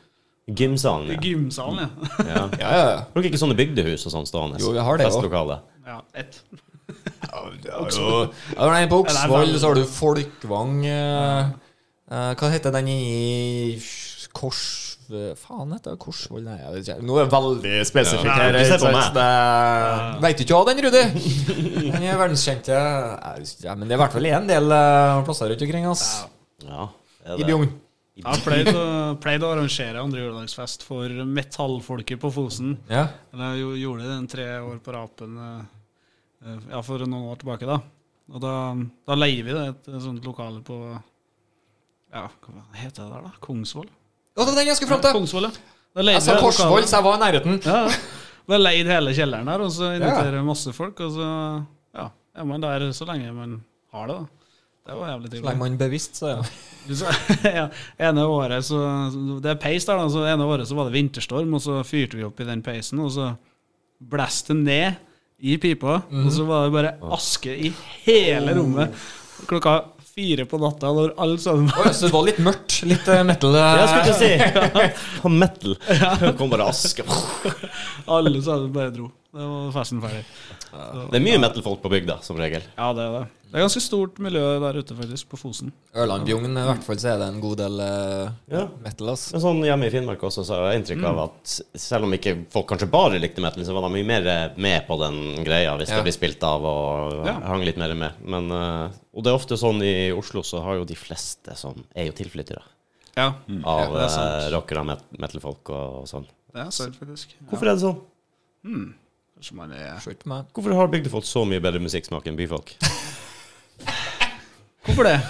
Gymsalen,
I
ja.
gymsalen, ja.
ja.
Ja, ja, ja.
Har dere ikke sånne bygdehus og sånn stående?
Jo, vi har det også.
Festlokale.
ja ett.
Oksvoll. Ja, nei, på Oksvoll så har du Folkvang eh, eh, Hva heter den i Kors... Faen heter det Korsvoll? Nei, jeg vet ikke. Nå er det veldig spesifikt
Ja.
her.
Nei, du ser på meg.
Veit du ikke hva den, Rudi? Den er verdenskjente. Jeg husker ikke, men det er i hvert fall en del eh, plasser rundt omkring, ass.
Ja, er
I
det.
Bjugn.
Jeg har pleid å- pleid å arrangere andre juledagsfest for metallfolket på Fosen.
Ja.
Men Jeg jo- gjorde det en tre år på rapen eh, eh, ja, for noen år tilbake. da. Og da, da leier vi det et sånt lokale på ja, Hva heter det der, da? Kongsvoll?
Å, det var den jeg skulle
Ja,
fram til!
Kongsvoll, ja. Da leier
Jeg sa
vi det
Altså, Korsvoll,
lokalet.
så jeg var i nærheten.
Ja, ja. Vi har leid hele kjelleren der, og så inviterer vi masse folk. Og så ja, er man der så lenge man har det, da. Det var jævlig
Legger
trivelig.
man bevisst, så ja.
Ja, ene året så Det er peis der, da. Så ene året så var det vinterstorm, og så fyrte vi opp i den peisen, og så blæste det ned i pipa,
Mhm.
og så var det bare aske i hele rommet klokka fire på natta når alle sammen
Å, ja, så det var litt mørkt. Litt eh, metal. eh,
Jeg skulle ikke si På metal. Det kom bare aske.
Alle sammen bare dro. Det var festen ferdig. Så-
Det er mye metal-folk på bygda, som regel.
Ja, det er det. Det er ganske stort miljø der ute, faktisk, på Fosen.
Ørlandbjugn, i hvert fall, så er det en god del eh,
Ja.
metal, altså. ass.
Men sånn Hjemme i Finnmark også så har jeg inntrykk av at selv om ikke folk kanskje bare likte metal, så var de mye mer eh, med på den greia hvis
Ja.
det blir spilt av og
Ja.
hang litt mer med. Men, eh, og det er ofte sånn i Oslo så har jo de fleste som er jo tilflyttere
Ja,
av
det er sant.
eh, rockere og met metal-folk og, og sånn.
det er sant, faktisk. Ja.
Hvorfor er det sånn?
Kanskje man er
Slutt på meg.
Hvorfor har bygdefolk så mye bedre musikksmak enn byfolk?
Hvorfor det?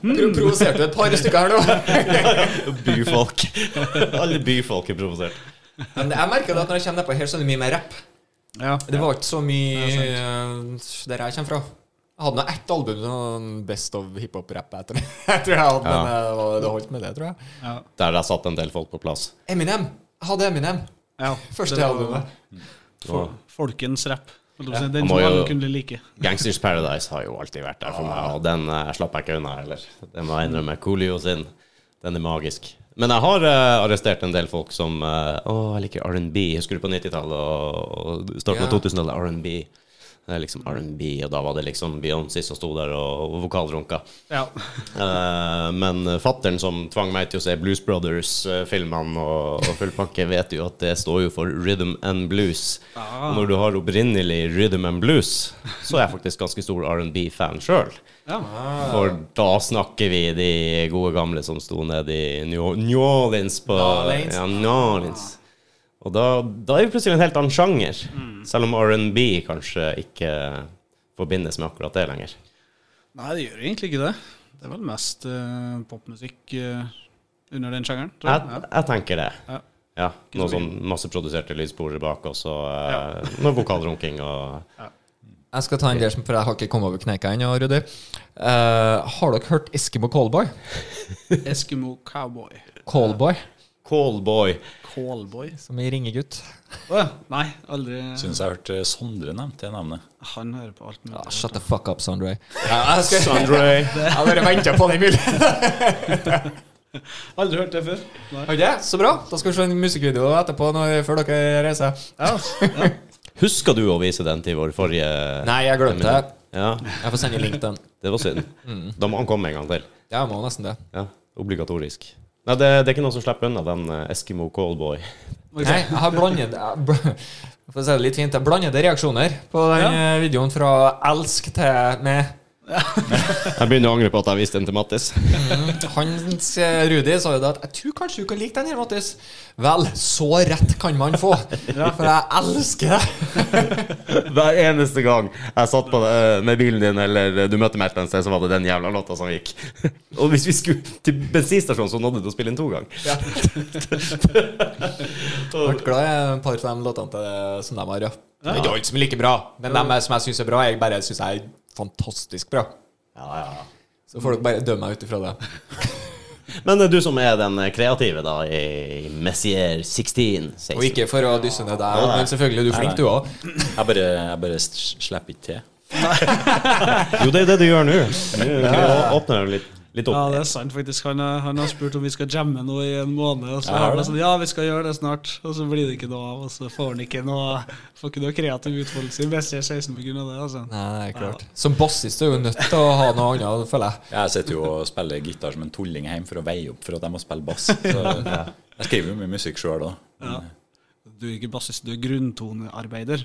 Hmm.
Du provoserte et par stykker her nå.
byfolk. Alle byfolk er provosert.
Men jeg merker det at når jeg kommer nedpå her, så er det mye mer rapp.
Ja.
Det var ikke så mye eh, der jeg kommer fra. Jeg hadde nå ett album, sånn Best of hiphop-rapp, jeg tror jeg tror jeg hadde, men eh, det var- det holdt med det, tror jeg.
ja.
Der har satt en del folk på plass.
Eminem. Jeg hadde Eminem.
ja.
Første
Det var
albumet.
fol- Folkens rap. holdt jeg på å si.
Han
Den
må
som
jo-
alle kunne like.
Gangsters Paradise har jo alltid vært der for meg, og den eh, slapp jeg ikke unna heller. Den må jeg innrømme. Coolio sin. Den er magisk. Men jeg har eh, arrestert en del folk som eh, Å, jeg liker R&B. Husker du på 90-tallet og og starten av
Ja.
2000-tallet? R&B. Det er liksom R&B, og da var det liksom Beyoncé som sto der og og vokalrunka.
Ja.
Eh, men fattern som tvang meg til å se Blues Brothers-filmene og, og full pakke, vet jo at det står jo for rhythm and blues.
Ah.
Og når du har opprinnelig rhythm and blues, så er jeg faktisk ganske stor R&B-fan sjøl.
ja.
For da snakker vi de gode gamle som sto nede i New, New Orleans på
Orleans.
Ja, New Orleans. Og da, da er vi plutselig en helt annen sjanger. Selv om R&B kanskje ikke forbindes med akkurat det lenger.
Nei, det gjør egentlig ikke det. Det er vel mest eh, popmusikk eh, under den sjangeren. tror
Jeg,
jeg.
jeg tenker det.
Ja.
Ja. Noe
så
sånn masseproduserte lydsporer bak, og så eh, noe vokalrunking og
Jeg skal ta en del som for jeg har ikke kommet over kneika ennå, Rudi. Eh, har dere hørt Eskimo Callboy?
Ja. Eskimo cowboy.
Callboy,
Callboy.
Callboy.
som i Ringegutt.
Å ja. Nei, aldri
Syns jeg hørte Sondre nevnte det navnet.
Han hører på alt mulig.
Ja, shut the fuck up, Sondre. Ja, jeg skal-
Sandray.
Jeg har bare venta på den muligheten.
Aldri hørt det før. Nei.
Ok, så bra. Da skal vi se en musikkvideo etterpå når, før dere reiser.
Husker du å vise den til vår forrige
Nei, jeg glemte det.
Ja,
Jeg får sende link til den.
det var synd. Da må han komme en gang til.
Jeg må nesten det.
Ja, Obligatorisk. Nei, det, det er ikke noen som slipper unna den eh, Eskimo Callboy.
Ok.
Nei, jeg har blandede jeg bl- For å si det litt fint, jeg har blandede reaksjoner på den eh, videoen fra elsk til med.
Jeg begynner å angre på at jeg viste den til Mattis.
Hans eh, Rudi sa jo da at 'jeg tror kanskje du kan like den her, Mattis'. Vel, så rett kan man få. For jeg elsker det.
Hver eneste gang jeg satt på det, med bilen din eller eh, du møtte meg et eller annet sted, så var det den jævla låta som gikk. Og hvis vi skulle til bensinstasjonen, så nådde du å spille den to ganger.
Jeg ble glad i et par av de låtene til, som de har, ja. Det er ikke alt som er like bra, men de som jeg syns er bra, jeg bare syns er fantastisk bra.
Ja, ja, ja.
Så får dere bare dømme meg ut ifra det.
Men eh, du som er den kreative da i Messier 16, 16.
Og ikke for å dysse ned deg, men selvfølgelig, du er flink, du òg.
Jeg bare, jeg bare s- slipper ikke til.
Jo, det er det du gjør nå. Nå åpner du litt Litt
Ja,
opp.
det er sant, faktisk. Han, er- han har spurt om vi skal jamme nå i en måned, og så
Ja,
har
det.
han sånn Ja, vi skal gjøre det snart. Og så blir det ikke noe av, og så får han ikke noe Får ikke noe kreativ utfoldelse i BC16 pga. det, altså.
Nei, det er klart. Som bassist er du jo nødt til å ha noe annet, føler jeg.
Jeg sitter jo og spiller gitar som en tulling hjemme for å veie opp for at jeg må spille bass. Så jeg skriver jo mye musikk sjøl òg.
Ja. Du er ikke bassist, du er grunntonearbeider.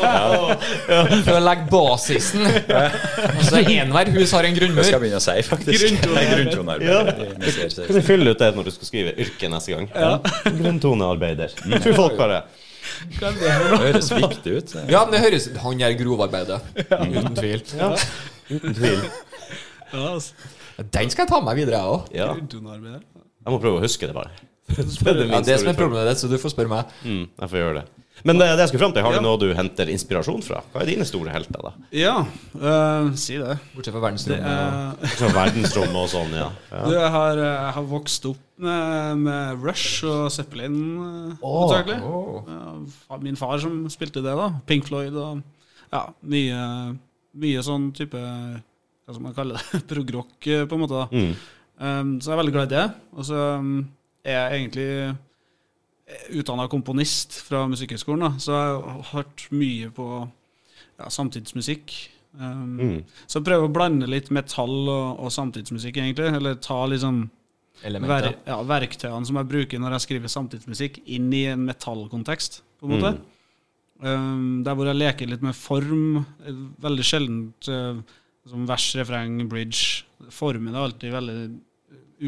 For å legge basisen. Altså, Enhver hus har
Det skal
en
jeg
grunnmur.
begynne å si, faktisk.
Grunntonearbeid.
Grunntonearbeid.
Kan du fylle ut det når du skal skrive yrke neste gang? Grunntonearbeider. Jeg tror folk bare
Hva er det for
Det høres viktig ut.
Ja, men det høres Han gjør grovarbeidet. Uten tvil.
Uten tvil.
noe? Ja, altså.
Den skal jeg ta med meg videre, jeg òg.
Ja.
Grunntonearbeider.
Jeg må prøve å huske det, bare. Det
Ja,
er
det
minste
som er
utfordringen.
problemet ditt, så du får spørre meg.
Mm, jeg får gjøre det. Men det, det jeg skulle fram til, har
Ja.
du noe du henter inspirasjon fra? Hva er dine store helter, da?
Ja, eh, si det.
Bortsett fra
Det
verdensrommet.
er
Fra verdensrommet og sånn, ja.
Du, jeg har, jeg har vokst opp med, med Rush og Zeppelin, eh,
Åh,
hovedsakelig.
åh.
Ja, fa- Min far som spilte det, da. Pink Floyd og ja, mye, mye sånn type Hva skal man kalle det? Progrock, eh, på en måte. da.
Mm.
Um, så jeg er veldig glad i det. Og så um, er jeg egentlig utdanna komponist fra Musikkhøgskolen, da, så jeg har hørt mye på ja, samtidsmusikk. Um,
Mm.
Så jeg prøver å blande litt metall og, og samtidsmusikk, egentlig. Eller ta liksom ver
Elementer.
ja, verktøyene som jeg bruker når jeg skriver samtidsmusikk, inn i en metallkontekst, på en måte. Um, der hvor jeg leker litt med form. eh, Veldig sjeldent eh, som vers, refreng, bridge. Formene er alltid veldig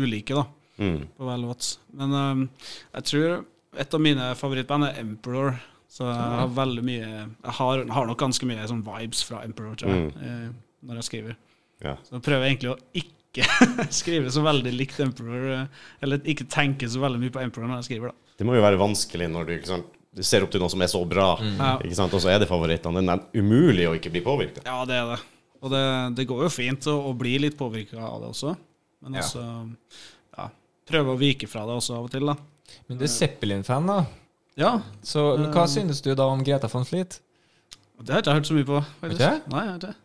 ulike, da,
Mm.
på hver låt. Men um, jeg tror et av mine favorittband er Emperor. Så jeg har veldig mye Jeg har, har nok ganske mye sånn vibes fra Emperor, tror jeg, eh, når jeg skriver.
Ja.
Så jeg prøver egentlig å ikke skrive så veldig likt Emperor, eh, eller ikke tenke så veldig mye på Emperor når jeg skriver, da.
Det må jo være vanskelig når du, ikke sant, du ser opp til noe som er så bra,
Ja.
ikke sant? og så er det favorittene. Det er umulig å ikke bli påvirka.
Ja, det er det. Og det, det går jo fint å, å bli litt påvirka av det også, men
Ja.
også ja, prøve å vike fra det også av og til, da.
Men du er Zeppelin-fan, da.
Ja,
Så men
Mm.
hva synes du da om Greta von Fleet?
og det har jeg ikke hørt så mye på,
Vet du
faktisk.
det?
Nei, jeg har ikke det.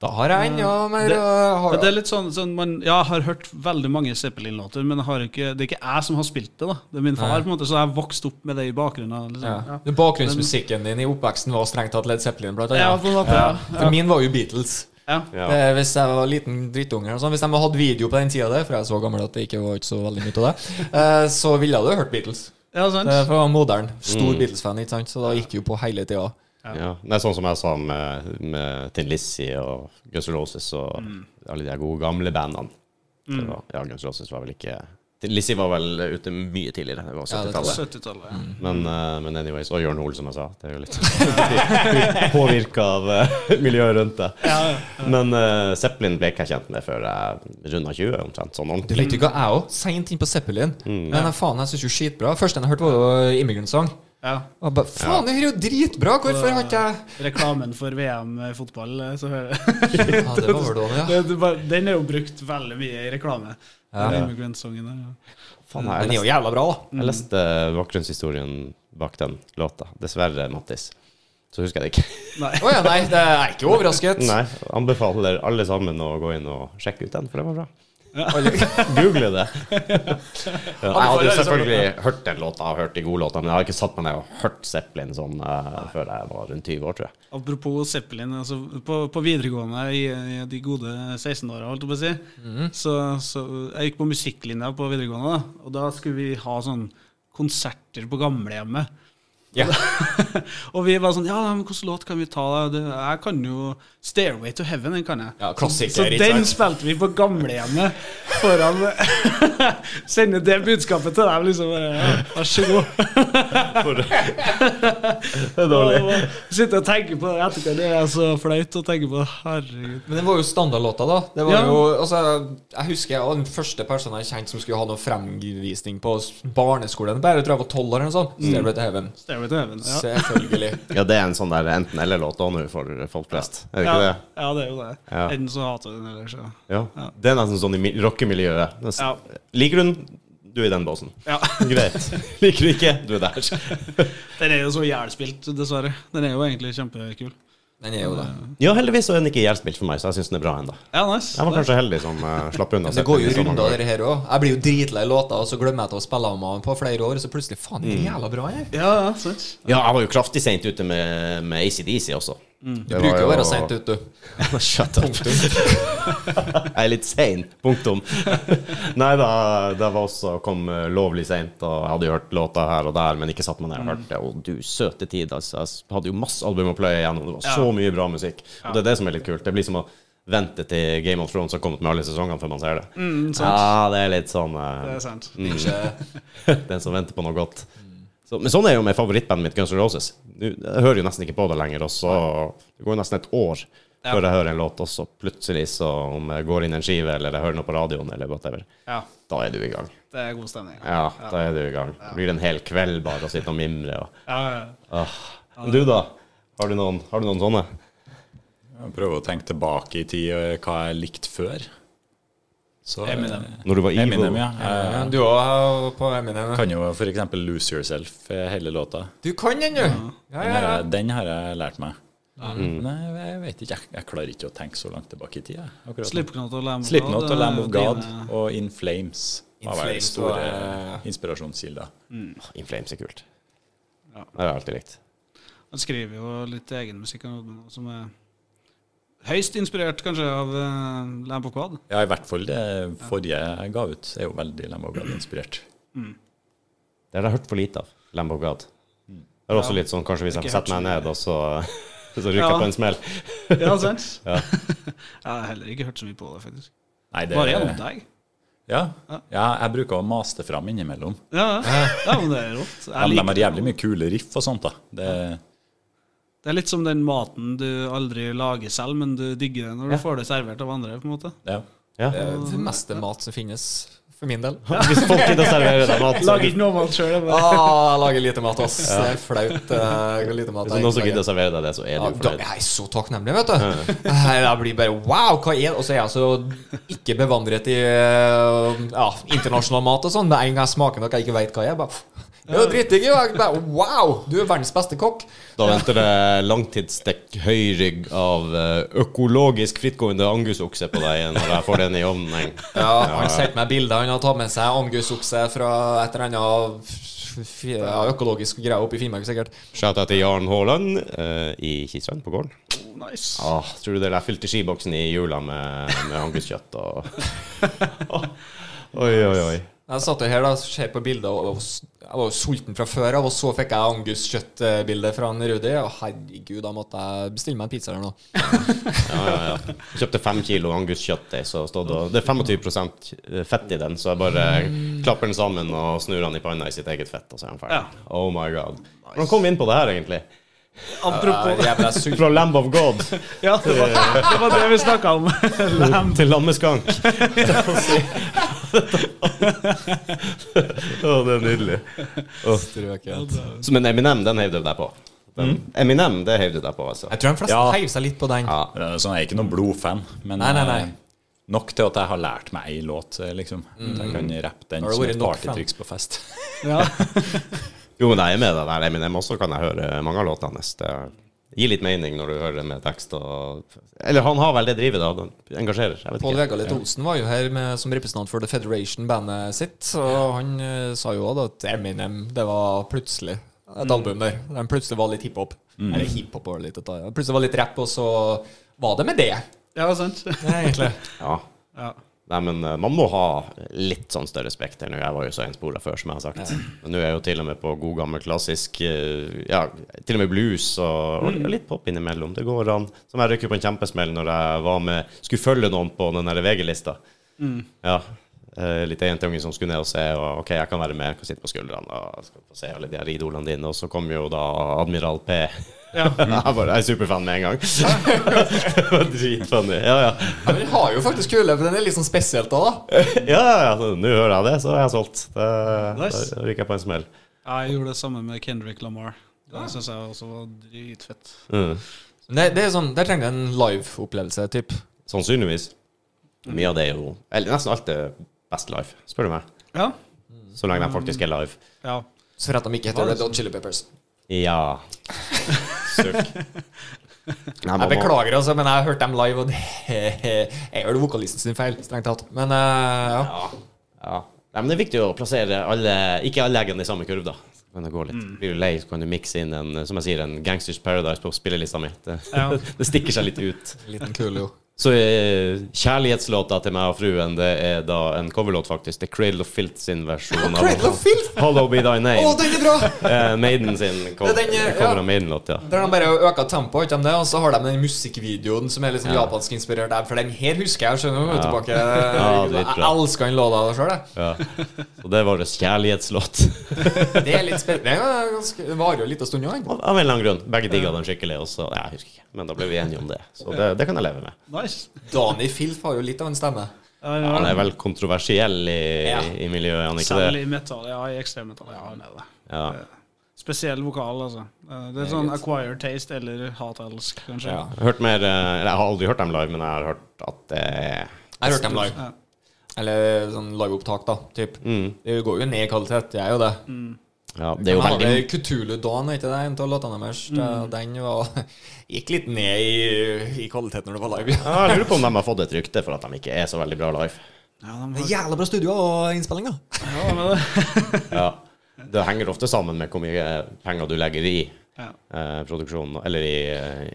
Da har jeg ennå mer
Mm.
eh,
Det-
å ha
Men Det er litt sånn, sånn man, ja, Jeg har hørt veldig mange Zeppelin-låter, men jeg har ikke, det er ikke jeg som har spilt det. da Det er min far,
Nei.
på en måte så jeg har vokst opp med det i bakgrunnen. Liksom.
Ja. Den Bakgrunnsmusikken din i oppveksten var strengt tatt Led Zeppelin, blant
Ja,
annet.
på en måte,
For
ja.
min var jo Beatles.
Ja.
Ja.
Det, er hvis jeg var liten drittunge, og sånn, hvis de hadde video på den tida der, for jeg er så gammel at det ikke var ikke så veldig mye av det, eh, så ville du hørt Beatles.
ja,
Det
sant?
er Eh, for jeg var modern. Stor Beatles-fan, ikke sant, så da gikk jo på hele tida.
Ja. Det er sånn som jeg sa med, med Tin Lizzie og Guns N' Roses og alle de gode gamle bandene. Det var, ja, Guns N' Roses var vel ikke Tin Lizzie var vel ute mye tidligere. Det var
Ja, det tror
70-tallet.
70-tallet. Ja.
Mm.
Men, eh, men anyways, og Jørn Hoel, som jeg sa. Det er jo litt påvirka av eh, miljøet rundt det. Men eh, Zeppelin ble ikke jeg kjent med før jeg runda 20, omtrent. Sånn
Du Mm.
ordentlig.
likte ikke jeg òg? Seint inn på Zeppelin. Men jeg- faen, jeg syns jo skitbra. Første jeg hørte, var jo Immigrant Song.
Ja.
Og jeg bare, faen, det her er jo dritbra! Hvorfor har ikke jeg
Reklamen for VM i fotball, eh, så hører jeg.
Ja, det var overdådig, ja.
Det- det bare- Den er jo brukt veldig mye i reklame.
Ja.
Den Immigrant-sangen der. ja.
Faen, jeg,
Den er jo
leste,
jævla bra, da.
jeg leste bakgrunnshistorien bak den låta. Dessverre, Mattis. Så husker jeg det ikke.
Å ja, nei, det er ikke overrasket.
Nei, anbefaler alle sammen å gå inn og sjekke ut den, for det var bra.
Alle-
Google det. Ja, jeg hadde jo
Anbefaler alle sammen,
selvfølgelig hørt den låta, og hørt de gode låtene, men jeg har ikke satt meg ned og hørt Zeppelin sånn eh, før jeg var rundt 20 år, tror jeg.
Apropos Zeppelin. Altså på, på videregående i, i de gode 16-åra, holdt jeg på å si, så, så jeg gikk på musikklinja på videregående, da, og da skulle vi ha sånn konserter på gamlehjemmet.
Ja.
og vi var sånn Ja, men hvilken låt kan vi ta? da? Det, jeg kan jo 'Stairway to Heaven'. Den kan jeg.
Ja, klassiker,
så
ikke
den
sant?
spilte vi på gamlehjemmet foran Sende det budskapet til dem, liksom. Bare, ja, vær så god.
Det er
Og bare Sitte og tenke på det i etterkant. Det er så flaut å tenke på. det. Herregud.
Men det var jo standardlåta, da. Det var
Ja.
jo, altså, jeg husker jeg var den første personen jeg kjente som skulle ha noen fremvisning på s- barneskolen. Bare tror jeg var tolv år eller noe sånt. Stairway to Heaven.
Stairway to Heaven. Ja.
Selvfølgelig.
Ja, det er en sånn der enten-eller-låt òg nå for folk flest. Er det ikke
ja,
det?
ja, det er jo det.
Ja.
Enten så hater du den, eller så
Ja. Det er nesten sånn i mi- rockemiljøet. Det er s-
Ja.
Liker du den, du er i den båsen.
Ja.
Greit. Liker du ikke, du er der.
Den er jo så jævlspilt, dessverre. Den er jo egentlig kjempekul.
Den er jo det.
Ja, heldigvis så er den ikke ihjelspilt for meg, så jeg syns den er bra ennå.
Ja, nice.
Jeg var kanskje heldig som eh, slapp unna.
Det går jo
setningen
runder,
sånn.
det her òg. Jeg blir jo dritlei låter, og så glemmer jeg til å spille med den på flere år, og så plutselig faen,
Mm.
det er jævla bra her.
Ja, ja, sant.
Ja, jeg var jo kraftig seint ute med, med ACDC også.
Mm. Du bruker jo å være seint ute, du.
Shut up. jeg er litt sein. Punktum. Nei da, det var også kom eh, lovlig seint, og jeg hadde jo hørt låta her og der, men ikke satt meg ned
Mm.
og hørt det. Og du søte tid, altså. Jeg hadde jo masse album å pløye gjennom, det var så mye bra musikk. Og det er det som er litt kult. Det blir som å vente til Game of Thrones har kommet med alle sesongene før man ser det.
Mm,
ja, det er litt sånn eh,
Mm, Det er sant.
Den som venter på noe godt. Så, men sånn er jo med favorittbandet mitt, Guns N' Roses. Du, jeg hører jo nesten ikke på det lenger. Og så, det går jo nesten et år før jeg hører en låt, og så plutselig, så om jeg går inn en skive, eller jeg hører noe på radioen, eller whatever,
Ja,
da er du i gang.
det er god stemning.
Ja, da er du i gang. Det blir en hel kveld bare å sitte og mimre og
Ja, ja.
ah. Men Du, da? Har du noen, har du noen sånne?
Jeg prøver å tenke tilbake i tid eh, hva jeg likte før. Så, eh,
Eminem.
Når du var evil?
Eminem, ja. Jeg
Du òg på Eminem.
kan jo f.eks. 'Lose Yourself', eh, hele låta.
Du kan den, du! Ja,
Den
ja,
har
ja.
jeg, den har jeg lært meg.
Mm,
Men jeg, jeg vet ikke, jeg, jeg klarer ikke å tenke så langt tilbake i tid. jeg, akkurat nå.
Slipknot og Lamb of eh,
Slipknot
er
og Lamb of
jo
God
dine-
og In Flames
In
har vært
Flames
store
var-
inspirasjonskilder.
Ah, In Flames er kult.
Ja.
Det har jeg alltid likt.
Han eh, skriver jo litt egen musikk han, som er høyst inspirert, kanskje, av eh, Lamb of God.
Ja, i hvert fall det forrige jeg ga ut, er jo veldig Lamb of God-inspirert.
Det har jeg hørt for lite av. Lamb of God. Det er også litt sånn kanskje hvis jeg
Ikke
setter
hørt
meg ned, og så, så ryker
Ja.
jeg på en smell.
Ja, sant? Jeg har heller ikke hørt så mye på det, faktisk.
Nei, det-
Bare gjennom deg.
Ja, ja, jeg bruker å mase det fram innimellom.
Ja, ja. ja, men det er rått.
Ja,
Jeg
men de
liker
har jævlig mye kule riff og sånt, da. Det,
Det er litt som den maten du aldri lager selv, men du digger det når du får det servert av andre, på en måte.
ja.
Ja.
Det er det meste mat som finnes, for min del.
Hvis folk gidder å servere deg mat, så hvis
noe mat sjøl,
Ah, jeg lager lite mat, ass. Det er flaut eh, hvor lite mat
det er sånn noen som
egentlig
gidder å
lager.
servere deg det, så er
Ja,
du jo
da,
fornøyd.
jeg er så takknemlig, vet du. Nei, Jeg blir bare wow, hva er det? Og så er jeg så ikke bevandret i eh, ja, internasjonal mat og sånn. Med en gang jeg smaker noe jeg ikke veit hva er, bare Det er jo dritdigg, jo. Jeg bare, Wow, du er verdens beste kokk.
Da venter det langtidsstekt høyrygg av eh, økologisk frittgående angusokse på deg igjen når jeg får den i ovnen. jeg.
Ja, Han sendte meg bilder. Han har tatt med seg angusokse fra et eller annet f- f- ja, økologisk greie oppe i Finnmark, sikkert.
Shout-out til Jarn Haaland eh, i Kisrand, på gården.
Oh, Nice.
Ah, tror du det jeg fylte skiboksen i jula med, med anguskjøtt og Oi, oi, oi.
Jeg satt jo her da, ser på bilder, og jeg var s- jeg var jo sulten fra før av, og så fikk jeg anguskjøttbildet fra han Rudi. Og herregud, da måtte jeg bestille meg en pizza eller noe.
Ja, ja, ja. Jeg kjøpte fem kilo anguskjøtt. jeg, så stod det- Det er 25 fett i den, så jeg bare klapper den sammen og snur den i panna i sitt eget fett, og så er den ferdig. Oh my god. Hvordan kom vi inn på det her, egentlig?
Ah,
Jeg
Apropos
er jævla sulten.
Fra Lamb of God
Ja, det var det, var det vi snakka om. Lamb.
til lammeskank. Å, det er nydelig.
Strøket.
Så, men Eminem, den heiv du deg på? Den, Eminem, det heiv du deg på, altså?
Mm. Jeg tror de fleste
Ja.
heiv seg litt på den.
Ja.
Eh, Så jeg er ikke noen blodfan, men
Nei, nei, nei.
eh, nok til at jeg har lært meg ei låt, eh, liksom. At jeg kan rappe den
Mm. Har du
som
vært
et
nok fan?
partytriks på fest.
Ja.
Jo, men jeg er med deg der, Eminem. Også kan jeg høre mange av låtene hans. Det gir litt mening når du hører det med tekst og Eller han har vel det drivet, da. Han engasjerer. Jeg vet
Pål
ikke.
Vegard Litt Olsen var jo her med, som representant for The Federation, bandet sitt, og han eh, sa jo òg at Eminem, det var plutselig et album der. Den plutselig var litt hiphop. Eller hiphop var litt å ta i. Plutselig var det litt rap, og så var det med det,
ja, sant.
egentlig.
Ja.
Ja.
Nei, men eh, man må ha litt sånn større spekter nå. Jeg var jo så enspora før, som jeg har sagt. Men nå er jeg jo til og med på god gammel klassisk eh, Ja, til og med blues og, og litt pop innimellom. Det går an. Som jeg røyker på en kjempesmell når jeg var med Skulle følge noen på den der VG-lista. Ja. eh, litt jentunge som skulle ned og se, og OK, jeg kan være med, jeg kan sitte på skuldrene og skal få se alle de her idolene dine. Og så kom jo da Admiral P. jeg, bare, jeg er superfan med en gang. det var dritfunny. Ja, ja.
Ja, men den har jo faktisk kule, for den er litt sånn spesielt da, da.
Ja, ja, ja. så Nå hører jeg det, så er jeg solgt. Det,
Nice.
Da ryker jeg på en smell.
Jeg gjorde det samme med Kendrick Lamar. Det syns jeg også var dritfett.
Mm.
Nei, det er sånn, Der trenger jeg en live-opplevelse, typ.
Sannsynligvis. Mye av det er jo Eller nesten alt er best live, spør du meg.
Ja.
Så lenge de faktisk er live.
ja.
Så for at de ikke heter Red Hot Chili Peppers.
Ja. Sukk. Nei, man
Jeg
må-
beklager, altså, men jeg hørte dem live, og det er vel vokalisten sin feil, strengt tatt. Men eh, ja.
Ja. ja. Nei, men det er viktig å plassere alle, ikke alle eggene i samme kurv, da. Så Kan det gå litt. Blir du lei, så kan du mikse inn en som jeg sier, en Gangsters Paradise på spillelista mi. Det,
Ja.
det stikker seg litt ut.
Liten kule, jo.
Så eh, kjærlighetslåta til meg og fruen, det er da en coverlåt, faktisk. Det er Cradle of Filth sin versjon
Cradle of Filth?
Hollow Be Thy
Å,
Name.
den er bra!
Eh, Maiden sin cover,
Det er den, eh,
cover
ja.
av Maiden-låt, ja.
Der de bare øker tempoet, ikke de det? Og så har de den musikkvideoen som er litt sånn japansk-inspirert der, for den her husker jeg, skjønner du, tilbake.
dritbra.
jeg elsker den låta sjøl, jeg.
ja. Så det er vår kjærlighetslåt.
Det er litt spennende. Den er ganske- Den varer jo en liten stund, jo, den.
Av en eller annen grunn. Begge digga den skikkelig, og så ja, Jeg husker ikke, men da ble vi enige om det. Så det, det kan jeg leve med.
Nice.
Dani Filth har jo litt av en stemme.
Ja, ja.
Ja, han er vel kontroversiell i,
Ja.
i miljøet, er han ikke
Særlig
det?
i metal. Ja, i ekstremmetall. Ja, han er det.
Ja.
Spesiell vokal, altså. Eh, Det er sånn acquired taste eller hatelsk, kanskje.
Ja.
Jeg har hørt mer, eh, eller jeg har aldri hørt dem live, men jeg har hørt at det er
Jeg hørte dem live.
Ja.
Eller sånn liveopptak, da. Typ. Det går jo ned i kvalitet, det er jo det.
Mm. ja, Det er jo
Men
veldig
hadde Cthulhu Dawn, er ikke det en av låtene deres? Det- Den var, gikk litt ned i, i kvalitet når det var live.
ja, Jeg lurer på om de har fått et rykte for at de ikke er så veldig bra live.
Ja, de
Det er
har-
Jævla bra studio og innspilling, da.
ja, men det.
Ja. Det henger ofte sammen med hvor mye penger du legger i
Ja.
eh, produksjonen, eller i, eh,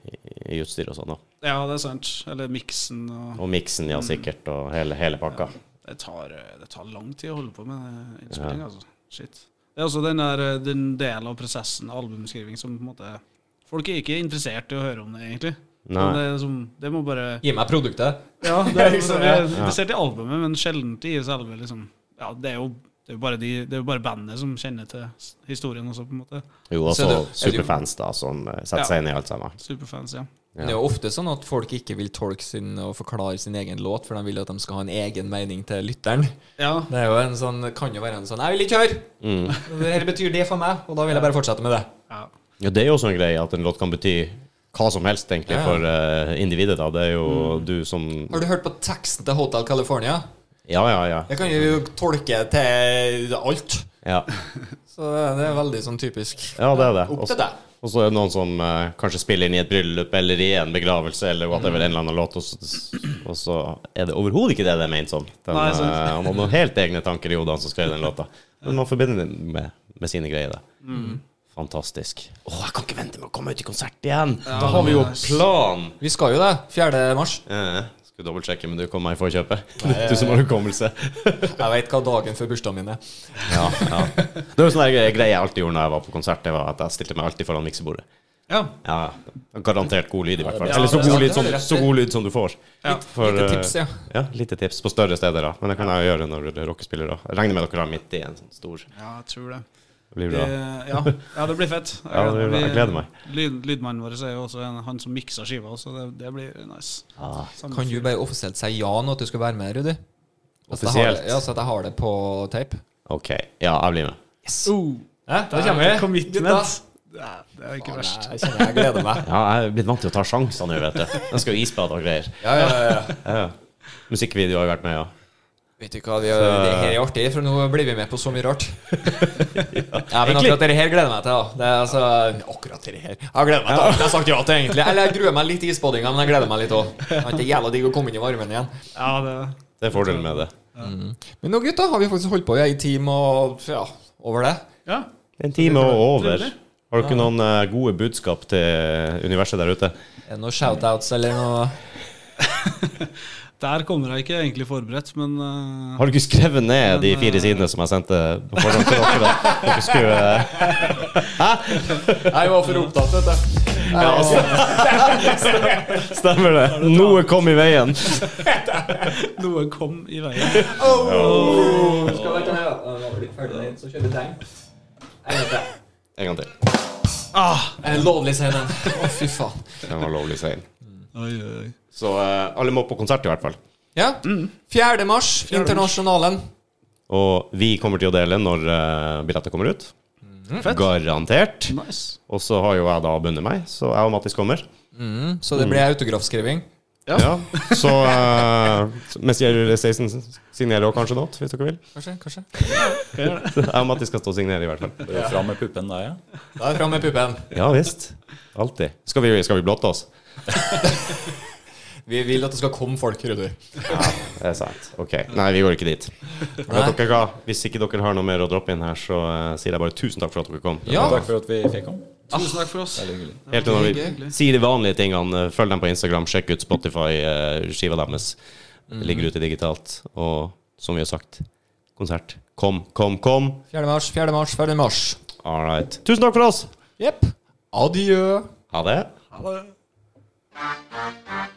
i utstyr og sånn. da.
ja, det er sant. Eller miksen og
Og miksen, ja, sikkert, og hele, hele pakka.
det tar, eh, det tar lang tid å holde på med eh, innspilling, altså. Shit. Det er også den, der, eh, den delen av prosessen, albumskriving, som på en måte Folk er ikke interessert i å høre om det, egentlig.
Nei.
eh,
Men Det, er som, det må bare
Gi meg produktet.
Ja, det er,
Liksom,
det
ja.
er interessert i albumet, men sjelden i selve liksom. ja, det, er jo, det, er jo bare de, det er jo bare bandet som kjenner til s- historien også, på en måte.
Jo, og
Så
så
det- er det-
superfans, da, som eh,
Ja.
setter seg inn i alt sammen.
Superfans, ja.
Det er jo ofte sånn at folk ikke vil tolke sin og forklare sin egen låt, for de vil at de skal ha en egen mening til lytteren.
Ja,
Det er jo en sånn, kan jo være en sånn 'Jeg vil ikke høre!'
Mm.
Dette betyr det for meg, og da vil jeg bare fortsette med det.
ja.
Ja, det er jo også en greie at en låt kan bety hva som helst, egentlig,
Ja. Mm.
for eh, individet, da. Det er jo du som
Har du hørt på teksten til Hotel California?
Ja, ja, ja.
Det kan jo tolke til alt.
Ja,
Så det er veldig sånn typisk.
ja det er det.
Opp
Også-
til deg.
Og så er det noen som eh, kanskje spiller inn i et bryllup eller i en begravelse eller
Mhm.
whatever, en eller annen låt, og så, og så er det overhodet ikke det det er ment som. Den,
Nei,
eh,
sant.
han hadde noen helt egne tanker i hodet, han som skrev den låta. Men man forbinder den med, med sine greier, da.
Mhm.
Fantastisk. Å, jeg kan ikke vente med å komme ut i konsert igjen! da har vi jo plan!
Vi skal jo det. 4. mars.
Eh, skulle dobbeltsjekke, men du kom meg i forkjøpet. Du som har hukommelse.
Jeg veit hva dagen før bursdagen min er.
Ja, ja. Det var en sånn der greie jeg alltid gjorde når jeg var på konsert, det var at jeg stilte meg alltid foran miksebordet.
ja.
Ja, garantert god lyd i hvert fall.
Ja,
Eller så
det er
god
sant, det
lyd
er
som,
rett
så
i.
god lyd som du får.
Ja.
For,
Lite
eh,
tips, ja.
ja. Lite tips på større steder, da. Men det kan jeg jo gjøre når du er rockespiller. da. Jeg regner med dere har midt i en sånn stor.
ja, jeg tror det.
Det blir
Det,
bra.
ja. ja, det blir fett. Jeg,
Ja, det blir bra. Jeg gleder meg.
Lyd, lydmannen vår er jo også en, han som mikser skiva, så det, det blir nice.
Ah.
Samme
Kan du
fyr.
bare offisielt si ja nå at du skal være med, Rudi? At jeg har
Offisielt?
det- Ja, så at jeg har det på tape.
Ok. Ja, jeg blir med.
Uh.
Oh,
Ja,
der er Commitment. Ja, det er ikke
Å,
verst.
nei, jeg kjenner jeg gleder meg.
Ja, jeg er blitt vant til å ta sjanser nå, vet du. Jeg skal jo isbade og greier.
Ja, ja, ja.
Ja, ja. Musikkvideo har jo vært med, ja.
Vet du hva, vi, det her er artig, for nå blir vi med på så mye rart. Ja, men
Egentlig.
akkurat dette her gleder jeg meg til. da. Det er altså, akkurat dette her. Jeg gleder meg til alt jeg har sagt ja til, egentlig. Eller jeg gruer meg litt i isbadinga, men jeg gleder meg litt òg. Det er jævla digg å komme inn i varmen igjen.
Ja, det
Det er fordelen med det.
Men nå, gutta, har vi faktisk holdt på i ei time og ja, over det.
ja.
En time og over.
Trivelig.
Har dere noen eh, gode budskap til universet der ute?
Er det noen Eh, shoutouts eller noe
Der kommer jeg ikke egentlig forberedt, men eh,
Har dere skrevet ned de fire sidene som jeg sendte på forhånd til dere? da? Dere skulle eh,
Jeg var for opptatt, vet du. altså. Jeg var-
Stemmer det? Noe kom i veien.
noe kom i veien.
Skal vi ta den her, da? Nå blir vi ferdig med den, så kjører vi den. En gang til.
En gang til.
Ah,
En Lovlig scene. Å, fy faen.
Den var lovlig sein.
oi, oi, oi.
Så eh, alle må på konsert, i hvert fall.
Ja. 4. mars, Internasjonalen.
Og vi kommer til å dele når uh, billetter kommer ut. Garantert.
Nice.
Og så har jo jeg da bundet meg, så jeg og Mattis kommer.
Mm. Så det blir autografskriving.
Ja.
Ja. Så eh, mens Jerry Stason signerer også kanskje noe, hvis dere vil.
Kanskje, kanskje.
Jeg og Matti skal stå og signere, i hvert fall.
Det er jo Fram med puppen da, ja.
Da er det fram med puppen.
Ja visst. Alltid. Skal vi, skal vi blotte oss?
Vi vil at det skal komme folk retur.
Det er sant. Ok. Nei, vi går ikke dit.
Nei.
Vet dere hva? Hvis ikke dere har noe mer å droppe inn her, så eh, sier jeg bare tusen takk for at dere kom.
Ja.
Takk for at vi fikk komme.
Tusen takk for oss.
Veldig hyggelig.
Helt til når vi sier de vanlige tingene. eh, Følg dem på Instagram, sjekk ut Spotify-skiva deres. Det ligger ute digitalt. Og som vi har sagt, konsert. Kom, kom, kom.
4. mars, 4. mars, 4. mars.
All right. Tusen takk for oss.
Jepp. Adjø.
Ha det.
Ha det.